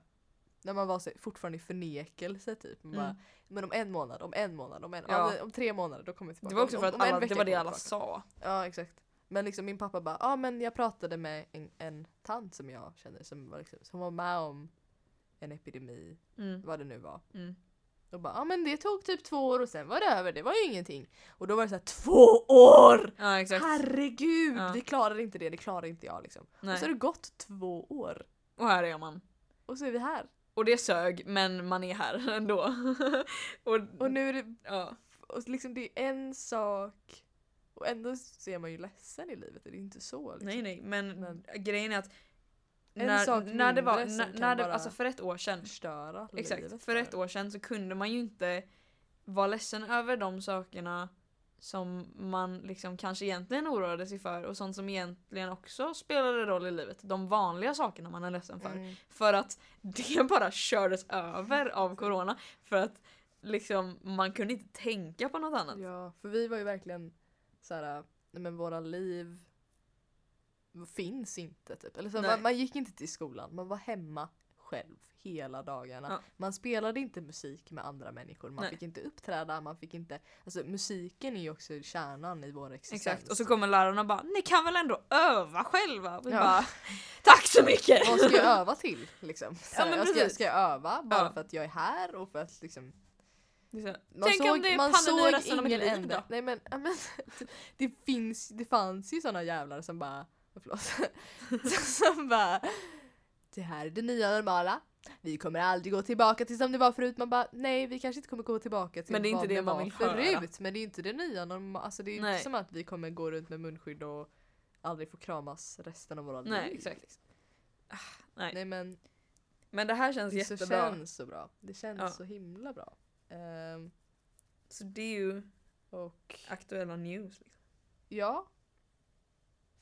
B: när man var så, fortfarande i förnekelse typ. Man
A: Mm.
B: bara, men om en månad, om en månad, om en
A: Ja.
B: om, om tre månader då kommer jag tillbaka.
A: Det var också
B: om,
A: för att
B: om, om en
A: alla, det
B: vecka
A: var det
B: kommer jag
A: alla
B: tillbaka.
A: sa.
B: Ja exakt. Men liksom min pappa bara, ja ah, men jag pratade med en, en tant som jag känner som var, liksom, som var med om en epidemi,
A: Mm,
B: vad det nu var.
A: mm.
B: Och bara, ja ah, men det tog typ två år och sen var det över, det var ju ingenting. Och då var det så här, två år!
A: Ja exakt.
B: Herregud!
A: Ja.
B: Vi klarade inte det, det klarade inte jag liksom. Och så har
A: Nej.
B: det gått två år.
A: Och här är man.
B: Och så är vi här.
A: Och det sög men man är här *laughs* ändå. och,
B: Och nu är det,
A: ja.
B: och liksom, det är en sak och ändå ser man ju ledsen i livet, det är inte så. Liksom.
A: Nej nej men,
B: Men-
A: grejen är att
B: En
A: när,
B: sak
A: när det var,
B: mindre som
A: när,
B: kan
A: när det,
B: bara-
A: alltså för ett år sedan.
B: Förstöra livet
A: Exakt, för ett år sedan så kunde man ju inte vara ledsen över de sakerna som man liksom kanske egentligen oroade sig för och sånt som egentligen också spelade roll i livet. De vanliga sakerna man är ledsen för.
B: Mm.
A: För att *laughs* det bara kördes över av corona. För att liksom man kunde inte tänka på något annat.
B: Ja, för vi var ju verkligen så här, nej men våra liv finns inte typ. Eller så,
A: Nej.
B: man, man gick inte till skolan, man var hemma själv hela dagarna.
A: Ja.
B: Man spelade inte musik med andra människor, man
A: Nej.
B: fick inte uppträda, man fick inte... Alltså musiken är ju också kärnan i vår existens.
A: Exakt. Och så kommer lärarna och bara ni kan väl ändå öva själva? Och vi
B: Ja.
A: bara tack så mycket!
B: Vad ska jag öva till
A: *laughs*
B: liksom? Så här,
A: men
B: jag ska,
A: precis.
B: ska jag öva bara
A: Ja.
B: för att jag är här och för att liksom
A: Det är så här,
B: Man
A: Tänk
B: såg,
A: om det är
B: man
A: pandemi
B: såg
A: resten av mitt
B: ingen
A: liv
B: ände.
A: då?
B: Nej men, ja, men *laughs* det, finns, det fanns ju såna jävlar som bara, oh, förlåt, *laughs* som bara det här är det nya normala. Vi kommer aldrig gå tillbaka till som det var förut. Man bara nej vi kanske inte kommer gå tillbaka till
A: Men det är
B: vad
A: inte det man
B: var
A: vill
B: förut.
A: höra.
B: Men det är inte det nya normala. Alltså det är
A: Nej.
B: inte som att vi kommer gå runt med munskydd och aldrig få kramas resten av våra
A: Nej
B: liv. liksom.
A: exakt. Ah, Nej.
B: Nej men
A: Men det här känns
B: det så
A: jättebra.
B: känns så bra. Det känns
A: Ja.
B: så himla bra. Ehm,
A: Så det är ju
B: och
A: aktuella news. Liksom.
B: Ja.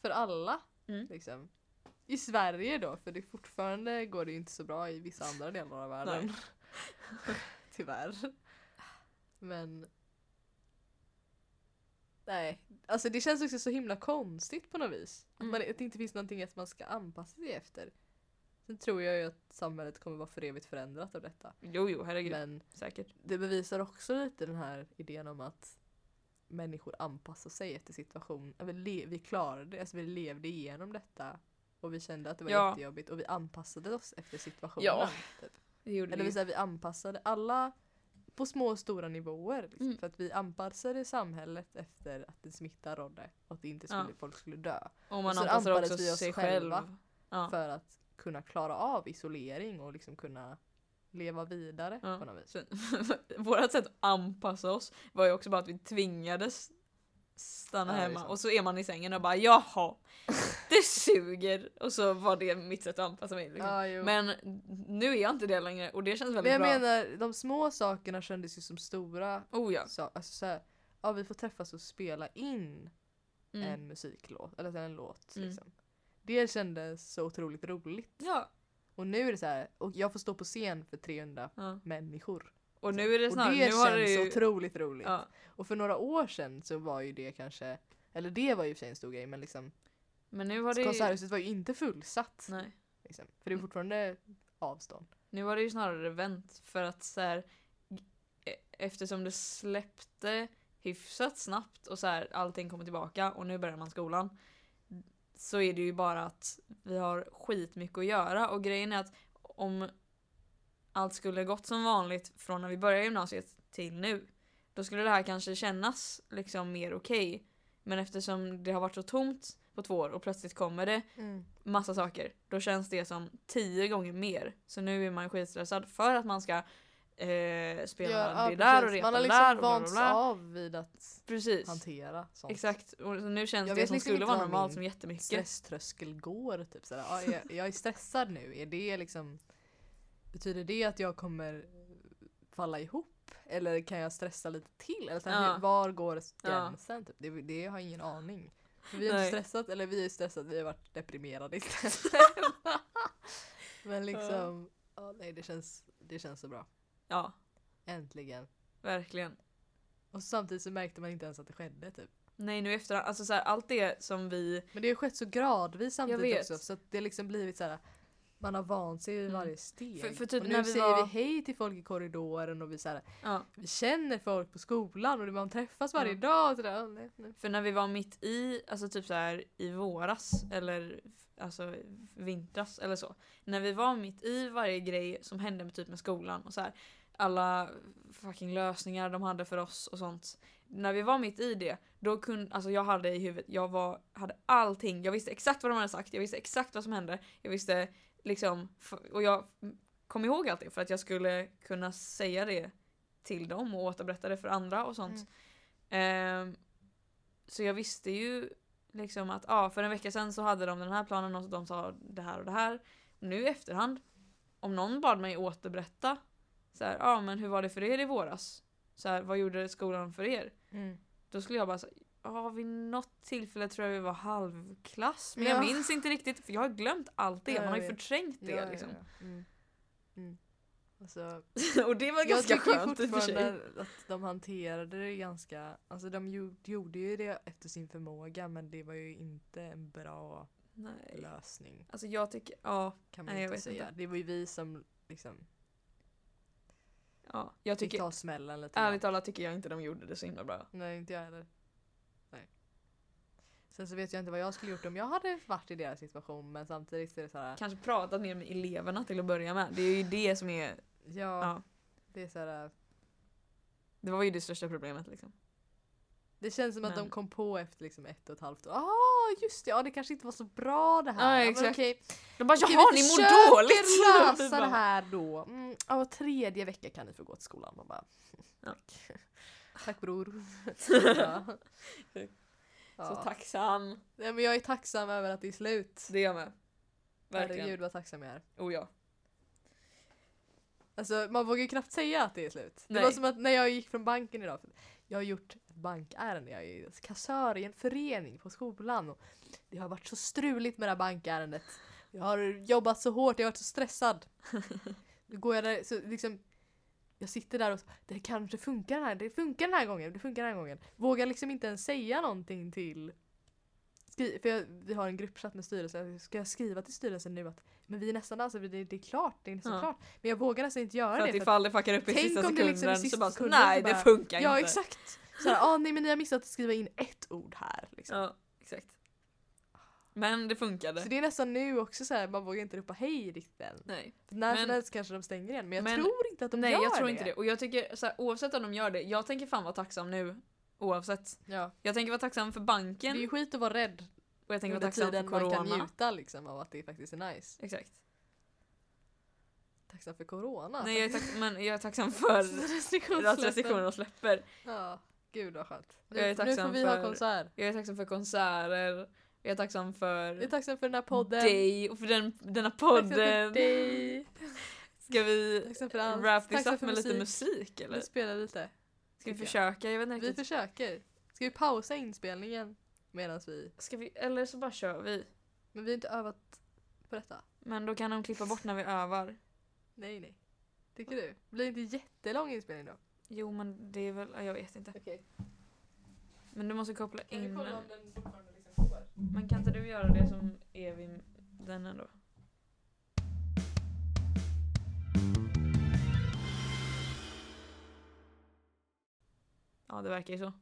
B: För alla.
A: Mm.
B: Liksom. I Sverige då, för det fortfarande går det ju inte så bra i vissa andra delar av världen. *laughs* Tyvärr. Men... Nej, alltså det känns också så himla konstigt på något vis. Att,
A: Mm.
B: man, att det inte finns någonting att man ska anpassa sig efter. Sen tror jag ju att samhället kommer vara för evigt förändrat av detta.
A: Jo jo herregud.
B: Men
A: Säkert.
B: det bevisar också lite den här idén om att människor anpassar sig efter situationen. Vi, le- vi klarade det, alltså vi levde igenom detta och vi kände att det var
A: Ja.
B: jättejobbigt och vi anpassade oss efter situationen.
A: Ja,
B: typ.
A: Det gjorde vi.
B: Eller vi,
A: ju.
B: säger, vi anpassade alla på små och stora nivåer. Liksom,
A: Mm.
B: För att vi anpassade samhället efter att en smitta rådde och att det inte skulle,
A: Ja.
B: folk skulle dö.
A: Och man anpassar
B: så anpassades
A: också
B: vi oss
A: sig själv.
B: själva.
A: Ja.
B: För att kunna klara av isolering och liksom kunna leva vidare
A: Ja.
B: på något vis.
A: Så, *laughs* vårat sätt att anpassa oss var ju också bara att vi tvingades stanna
B: Ja, det är
A: hemma
B: sant.
A: och så är man i sängen och bara
B: *laughs*
A: jaha, det suger. Och så var det mitt sätt att anpassa mig. Liksom.
B: Ja, jo.
A: Men nu är jag inte det längre och det känns väldigt
B: Men jag
A: bra.
B: menar, de små sakerna kändes ju som stora.
A: Oh ja.
B: Så, alltså så här, ja vi får träffas och spela in
A: Mm.
B: en musiklåt, eller en låt
A: Mm.
B: liksom. Det kändes så otroligt roligt.
A: ja.
B: Och nu är det så här, och jag får stå på scen för 300
A: ja.
B: människor. liksom.
A: Och nu är det
B: Mm. och
A: snarare,
B: det
A: nu har det
B: känns
A: ju...
B: otroligt roligt.
A: Ja.
B: Och för några år sedan så var ju det kanske, eller det var ju i och för sig en stor grej men liksom
A: Men nu har det ju...
B: konserthuset var ju inte fullsatt.
A: Nej.
B: Liksom, för det är fortfarande avstånd.
A: Nu var det ju snarare vänt för att så här, e- eftersom det släppte hyfsat snabbt och så här, allting kommer tillbaka och nu börjar man skolan. Så är det ju bara att vi har skitmycket att göra och grejen är att om allt skulle gått som vanligt från när vi började gymnasiet till nu. Då skulle det här kanske kännas liksom mer okej. Men eftersom det har varit så tomt på två år och plötsligt kommer det massa saker, då känns det som tio gånger mer. Så nu är man skitstressad för att man ska eh, spela
B: Ja,
A: det
B: ja,
A: där och
B: precis.
A: repa
B: Man har
A: det
B: liksom
A: där och bla bla
B: vants
A: bla.
B: av vid att
A: Precis.
B: hantera sånt.
A: Exakt. Och så nu känns
B: Jag
A: det
B: vet
A: som
B: liksom
A: skulle
B: inte
A: vara
B: vad
A: normalt
B: min
A: som jättemycket.
B: Stresströskel går typ sådär. Ja, jag, jag är stressad nu. Är det liksom Betyder det att jag kommer falla ihop? Eller kan jag stressa lite till? Eller så här,
A: Ja.
B: hur- Var går
A: Ja.
B: gränsen? Typ? Det, det har jag ingen aning. För Vi har inte
A: Nej.
B: stressat, eller vi är stressade, vi har varit
A: *laughs*
B: deprimerade istället. Men liksom, ja, nej, det, känns, det känns så bra.
A: Ja,
B: Äntligen.
A: verkligen.
B: Och samtidigt så märkte man inte ens att det skedde typ.
A: Nej nu efter alltså så här, allt det som vi...
B: Men det har skett så gradvis samtidigt
A: vet.
B: också så att det har liksom blivit så här. Man har vant sig vid
A: Mm.
B: varje steg.
A: För- för typ
B: och nu
A: när vi
B: säger
A: var-
B: vi hej till folk i korridoren och vi, så här,
A: Ja.
B: vi känner folk på skolan och man träffas varje
A: Ja.
B: dag. Och så där. Nej, nej.
A: För när vi var mitt i, alltså typ så här i våras eller alltså vintras eller så. När vi var mitt i varje grej som hände med typ med skolan och så här alla fucking lösningar de hade för oss och sånt. När vi var mitt i det, då kunde, alltså jag hade i huvudet, jag var, hade allting, jag visste exakt vad de hade sagt, jag visste exakt vad som hände, jag visste liksom, f- och jag kom ihåg allt det för att jag skulle kunna säga det till dem och återberätta det för andra och sånt. Ehm, så jag visste ju liksom att ah, för en vecka sedan så hade de den här planen och de sa det här och det här. Nu i efterhand, om någon bad mig återberätta så här, ah, men hur var det för er i våras? Så här, vad gjorde skolan för er? Då skulle jag bara säga Ja, vid något tillfälle tror jag vi var halvklass. Men
B: Ja.
A: jag minns inte riktigt för jag har glömt allt det.
B: Ja,
A: Man har ju
B: jag vet.
A: förträngt det
B: Ja, ja,
A: liksom.
B: ja. Mm. Mm. Alltså,
A: *laughs* och det var
B: jag
A: ganska
B: tycker
A: skönt i och för sig.
B: fortfarande att de hanterade det ganska, alltså de ju- gjorde ju det efter sin förmåga men det var ju inte en bra
A: Nej.
B: lösning.
A: Alltså jag tycker, ja.
B: Kan man
A: Nej, jag
B: ju inte
A: vet
B: säga.
A: inte.
B: Det var ju vi som liksom
A: ja. Jag
B: fick
A: tycker,
B: ta smällen lite. grann.
A: ärligt talat tycker jag inte de gjorde det så himla bra.
B: Nej, inte jag heller. Nej. Sen så vet jag inte vad jag skulle gjort om jag hade varit i deras situation men samtidigt så är det så här.
A: kanske pratat mer med eleverna till att börja med. Det är ju det som är,
B: Ja,
A: ja.
B: det är så här.
A: Det var ju det största problemet liksom.
B: Det känns som att de
A: Men-
B: kom på efter liksom ett och ett halvt år. Ah, just det, ja, det kanske inte var så bra det här.
A: Nej,
B: men
A: exakt.
B: okej.
A: De bara
B: Okej,
A: “Jaha,
B: vi
A: ni mår
B: försöker
A: dåligt!” *laughs* Vi
B: lösa det
A: bara,
B: här då. Mm, ja, var tredje vecka kan ni få gå till skolan. Man bara,
A: Ja.
B: *laughs*
A: *laughs*
B: Tack bror. ja.
A: Så
B: Ja.
A: tacksam.
B: Nej, men jag är tacksam över att det är slut.
A: Det är jag med. Verkligen.
B: Herregud vad tacksam jag är.
A: Oh ja.
B: Alltså man vågar ju knappt säga att det är slut. Det
A: Nej.
B: var som att när jag gick från banken idag. för Jag har gjort ett bankärende. Jag är kassör i en förening på skolan. Och det har varit så struligt med det här bankärendet. Jag har jobbat så hårt, jag har varit
A: *laughs*
B: så stressad. Nu går jag där, så liksom. Jag sitter där och så, det kanske funkar den här, det funkar den här gången, det funkar den här gången. Vågar liksom inte ens säga någonting till skri- för jag, vi har en gruppchatt med styrelsen, ska jag skriva till styrelsen nu att men vi är nästan där, alltså, det, det är klart, det är nästan
A: Ja.
B: klart. Men jag vågar nästan inte göra
A: För
B: det.
A: att
B: för att-
A: ifall det fuckar upp i
B: Tänk
A: sista
B: om det liksom i
A: sekunden så
B: sista
A: bara
B: sekunden så
A: “Nej,
B: bara-
A: det funkar
B: Ja
A: inte”. *laughs*
B: exakt! Såhär, ah, nej men ni har missat att skriva in ett ord här. Liksom.
A: Ja, exakt. Men det funkade.
B: Så det är nästan nu också så man vågar inte ropa hej riktigt än.
A: Nej.
B: När som
A: Men-
B: helst kanske de stänger igen men jag
A: Men-
B: tror inte att de
A: Nej,
B: gör
A: jag tror inte det. Och jag tycker så här, oavsett om de gör det, jag tänker fan vara tacksam nu. Oavsett.
B: Ja.
A: Jag tänker vara tacksam för
B: Det är ju
A: banken
B: skit att vara rädd
A: och jag tänker vara
B: under
A: tacksam för
B: tiden man kan
A: corona.
B: njuta liksom, av att det faktiskt är nice.
A: Exakt.
B: Tacksam för corona. *laughs*
A: Nej, jag är, tack- men jag är tacksam
B: Tacksam *laughs*
A: för
B: för
A: att
B: restriktionssläppen.
A: restriktionerna släpper.
B: Ja, gud vad skönt.
A: Jag är
B: Nu, nu får
A: tacksam
B: vi ha
A: för-
B: konsert.
A: Jag är tacksam för konserter. Jag är tacksam
B: Jag är
A: för
B: tacksam för den här podden.
A: dig och för den, denna
B: *laughs* Tacksam för
A: podden.
B: dig.
A: *laughs* Ska vi
B: Tacksam för allt.
A: wrap this
B: Tacksam
A: up
B: för
A: med lite
B: musik.
A: musik
B: Nu
A: eller?
B: spelar vi lite.
A: Ska vi
B: tycker jag.
A: försöka? Jag vet inte
B: Vi
A: riktigt.
B: försöker. Ska vi pausa inspelningen medan vi...
A: Ska vi, eller så bara kör vi.
B: Men vi har inte övat på detta.
A: Men då kan de klippa bort när vi övar.
B: Nej, nej. Tycker du? Blir det inte jättelång inspelning då?
A: Jo men det är väl, ja, jag vet inte.
B: Okej.
A: Men du måste koppla in den.
B: den fortfarande liksom går?
A: Men kan inte du göra det som är vid den ändå? Ja, det verkar ju så.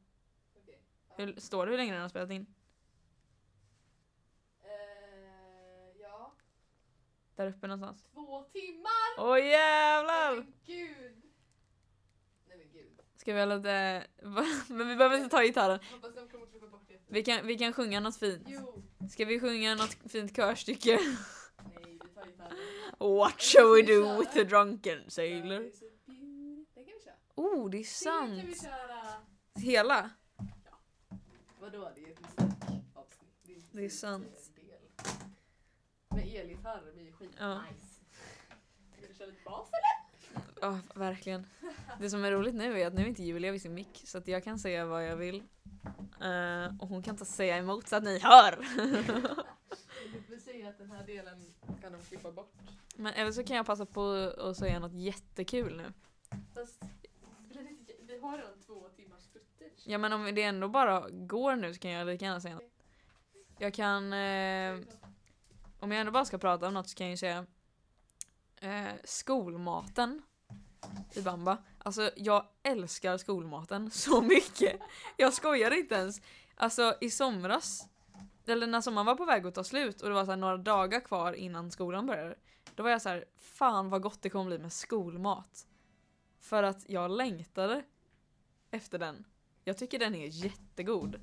B: Okej.
A: Hur, står det hur länge den har spelat in?
B: Eh, ja.
A: Där uppe någonstans.
B: Två timmar!
A: Åh jävlar!
B: gud! Nej men gud.
A: Ska vi ha lite... *laughs* Men vi behöver inte ta gitarren.
B: Hoppas de kommer klippa bort det
A: Vi kan, vi kan sjunga något fint.
C: Jo.
A: Ska vi sjunga något fint körstycke? *laughs*
C: Nej, vi tar gitarren.
A: What shall we do with the drunken sailor?
C: That is a beauty- Det kan vi köra.
A: Oh, det är
C: Det kan vi
A: sant!
C: köra.
A: Hela?
C: Vadå, det är ett musikavsnitt. inte
A: Det är sant.
C: en del. Men elgitarr blir ju skitnice.
A: Ja.
C: Vill du köra lite bas eller?
A: Ja, verkligen. Det som är roligt nu är att nu är inte Julia vid sin mick så att jag kan säga vad jag vill. Eh, och hon kan inte säga emot så att ni hör!
C: Vi säger att den här delen kan de klippa bort.
A: Men eller så kan jag passa på att säga något jättekul nu.
C: Fast det blir lite, vi har redan två timmars footage.
A: Ja men om det ändå bara går nu så kan jag lika gärna säga något. Jag kan... Eh, om jag ändå bara ska prata om något så kan jag ju säga eh, skolmaten i Bamba. Alltså jag älskar skolmaten *laughs* så mycket. Jag skojar inte ens. Alltså i somras, eller när sommaren var på väg att ta slut och det var så här några dagar kvar innan skolan började. Då var jag så här, fan vad gott det kommer bli med skolmat. För att jag längtade efter den. Jag tycker den är jättegod.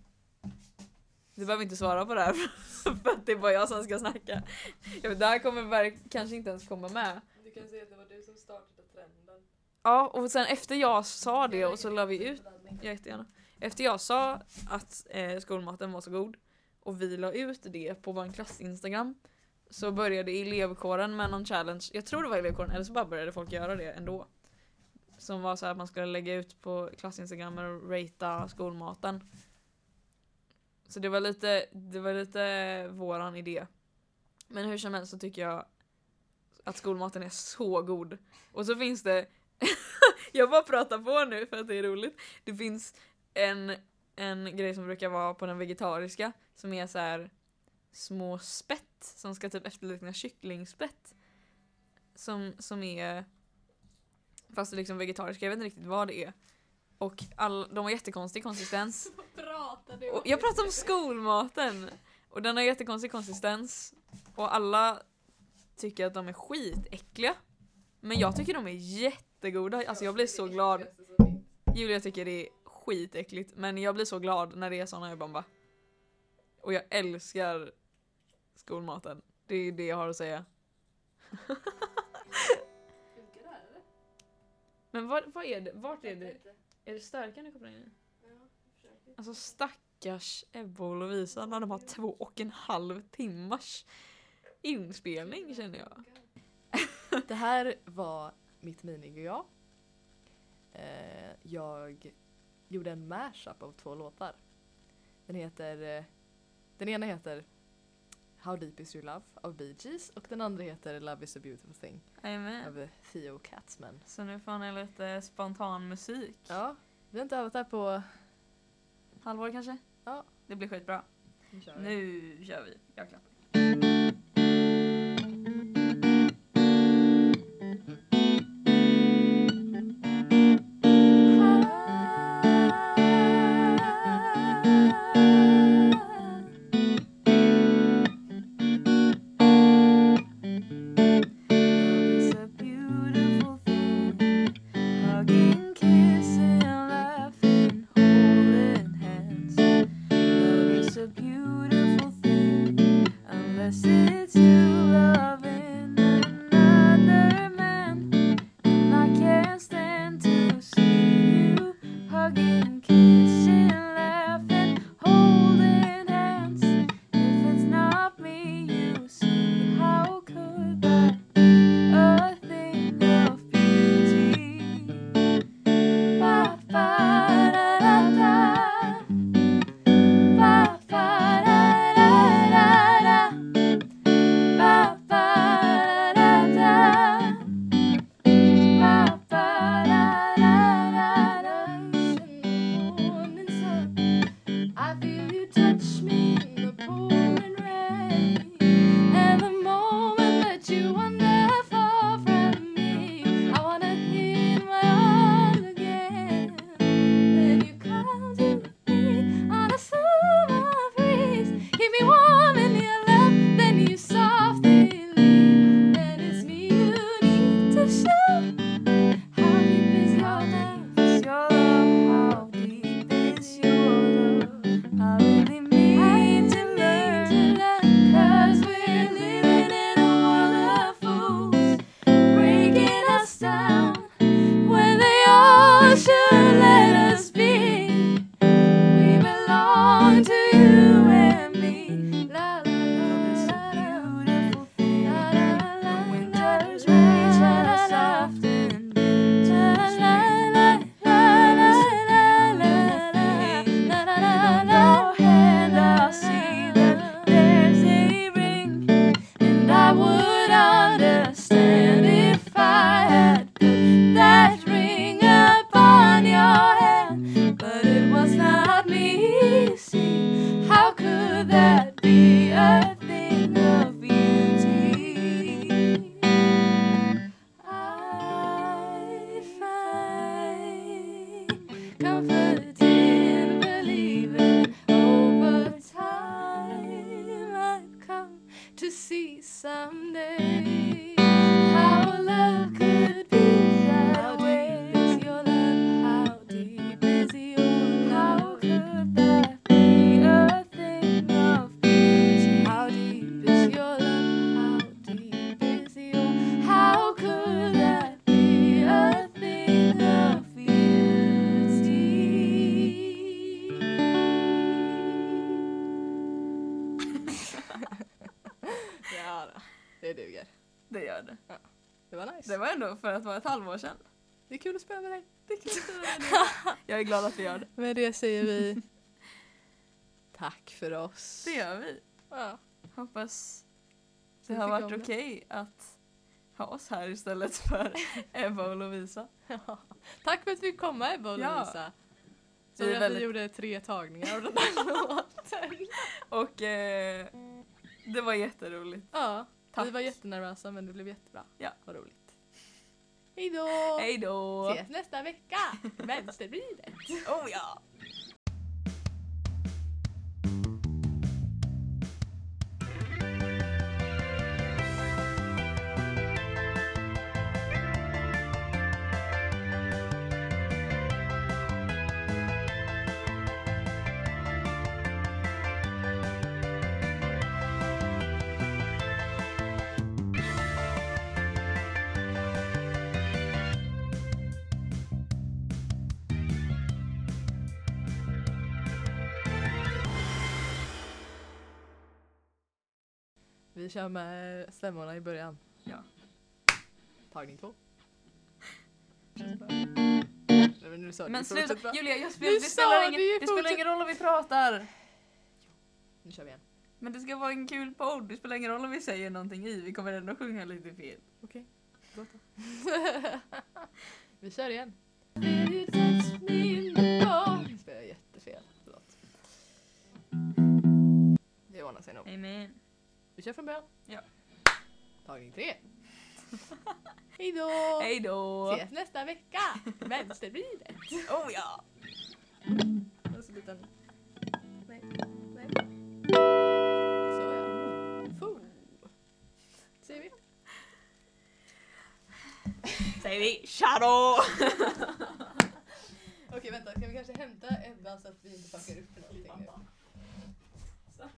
A: Du behöver inte svara på det här *laughs* för att det är bara jag som ska snacka. Ja, men det här kommer verk- kanske inte ens komma med.
C: Du kan säga att det var du som startade trenden.
A: Ja, och sen efter jag sa det och så la vi
C: *laughs*
A: ut, ja, jättegärna. Efter jag sa att eh, skolmaten var så god och vi la ut det på vår klassinstagram så började elevkåren med någon challenge, jag tror det var elevkåren eller så bara började folk göra det ändå. Som var så här att man skulle lägga ut på klassinstagram och ratea skolmaten. Så det var lite, det var lite våran idé. Men hur som helst så tycker jag att skolmaten är så god. Och så finns det, *laughs* jag bara pratar på nu för att det är roligt. Det finns en, en grej som brukar vara på den vegetariska som är så här små spett som ska typ efterlikna kycklingspett. Som, som är fast det är liksom vegetariska, jag vet inte riktigt vad det är. Och all, de har jättekonstig konsistens.
C: Vad pratar du
A: Och jag pratar om skolmaten! Och den har jättekonstig konsistens. Och alla tycker att de är skitäckliga. Men jag tycker de är jättegoda. Alltså jag blir så glad. Julia tycker det är skitäckligt. Men jag blir så glad när det är såna i Bomba. Och jag älskar skolmaten. Det är det jag har att säga.
C: Funkar det här eller?
A: Men vad, vad är det? Vart är
C: Funkar
A: det?
C: inte?
A: Är det starkare kopplingen?
C: Ja, jag försöker.
A: *laughs* Alltså stackars Ebba och Lovisa när de har två och en halv timmars inspelning känner jag.
B: Det här var mitt minigo jag. Eh, jag gjorde en mashup av två låtar. Den heter... Eh, den ena heter How Deep Is Your Love av Bee Gees och den andra heter Love Is A Beautiful Thing
A: Jajamän.
B: av Theo Katzman.
A: Så nu får ni lite spontan musik.
B: Ja, vi har inte övat det här på...
A: Halvår kanske?
B: Ja.
A: Det blir skitbra.
B: Nu.
A: Nu kör vi. Jag klappar. A beautiful thing. Unless it's you loving another man, and I can't stand to see you hugging, kissing, laughing, holding hands. If it's not me, you see, how could that be a thing of beauty? Ba, ba, da, da, da. Ba, ba, da, da, da, da. Ba, ba, da, da, da. Ba, ba, da, da, da, da. In the morning sun, I feel you touch me in the pouring rain. And the moment that you wander far from me, I wanna hear in my arms again. Then you come to me on a summer breeze. Keep me warm in your love, then you softly leave. And it's me you need to show. How deep is your love? Your love, how deep is your love? I really mean that be a thing of beauty? I find comfort in believing over time I've come to see someday how love could be that how way. Deep is your love? How deep is your How could that be a thing of beauty? How deep is your love? How deep is your How could that be a thing of beauty?
B: Ja, då. det duger.
A: Det gör det.
B: Det var nice.
A: Det var ändå för att vara ett halvår sedan.
B: det är kul att spela med dig.
A: Det er är kul att höra det. Jag är glad att vi gör det.
B: Med det säger vi *laughs* tack för oss.
A: Det gör vi.
B: Ja.
A: Hoppas
B: Så
A: det
B: vi
A: har
B: fick
A: varit
B: om
A: okej
B: det.
A: att ha oss här istället *laughs* för Ebba och Lovisa.
B: Ja. Tack för att vi fick komma Ebba och
A: Ja.
B: Lovisa.
A: Vi
B: Så
A: är
B: att
A: väldigt-
B: vi gjorde tre tagningar av den
A: *laughs*
B: här låten.
A: Och eh, det var jätteroligt.
B: Ja,
A: Tack.
B: vi var jättenervösa men det blev jättebra.
A: Ja.
B: Vad roligt. Hej då!
A: Hej då!
B: Ses nästa vecka! Vänstervridet!
A: Oh ja!
B: Vi kör med stämmorna i början.
A: Ja. *laughs*
B: Tagning två.
A: Precis.
B: Nej, men nu sa du
A: Men
B: det förut så bra.
A: sluta! Julia, jag
B: Du
A: spelar, det,
B: sa
A: spelar
B: det ju
A: ingen, det spelar
B: fortsätt.
A: ingen roll om vi pratar.
B: Nu kör vi igen.
A: Men det ska vara en kul podd. Det spelar ingen roll om vi säger någonting i. Vi kommer ändå sjunga lite fel.
B: Okej. Låt då. vi kör igen. Nu spelar jag jättefel. Förlåt. Det ordnar sig nog.
A: Amen.
B: Vi kör från början.
A: Ja.
B: Tagning tre. Hej då!
A: Hej då!
B: Ses nästa vecka! Vänstervridet!
A: Oh ja!
B: Och
A: Alltså,
B: så liten... Nej. Nej. Så ja. Foo. Säger vi.
A: Säger vi tja då!
B: Okej vänta, ska vi kanske hämta Ebba så att vi inte fuckar upp någonting nu?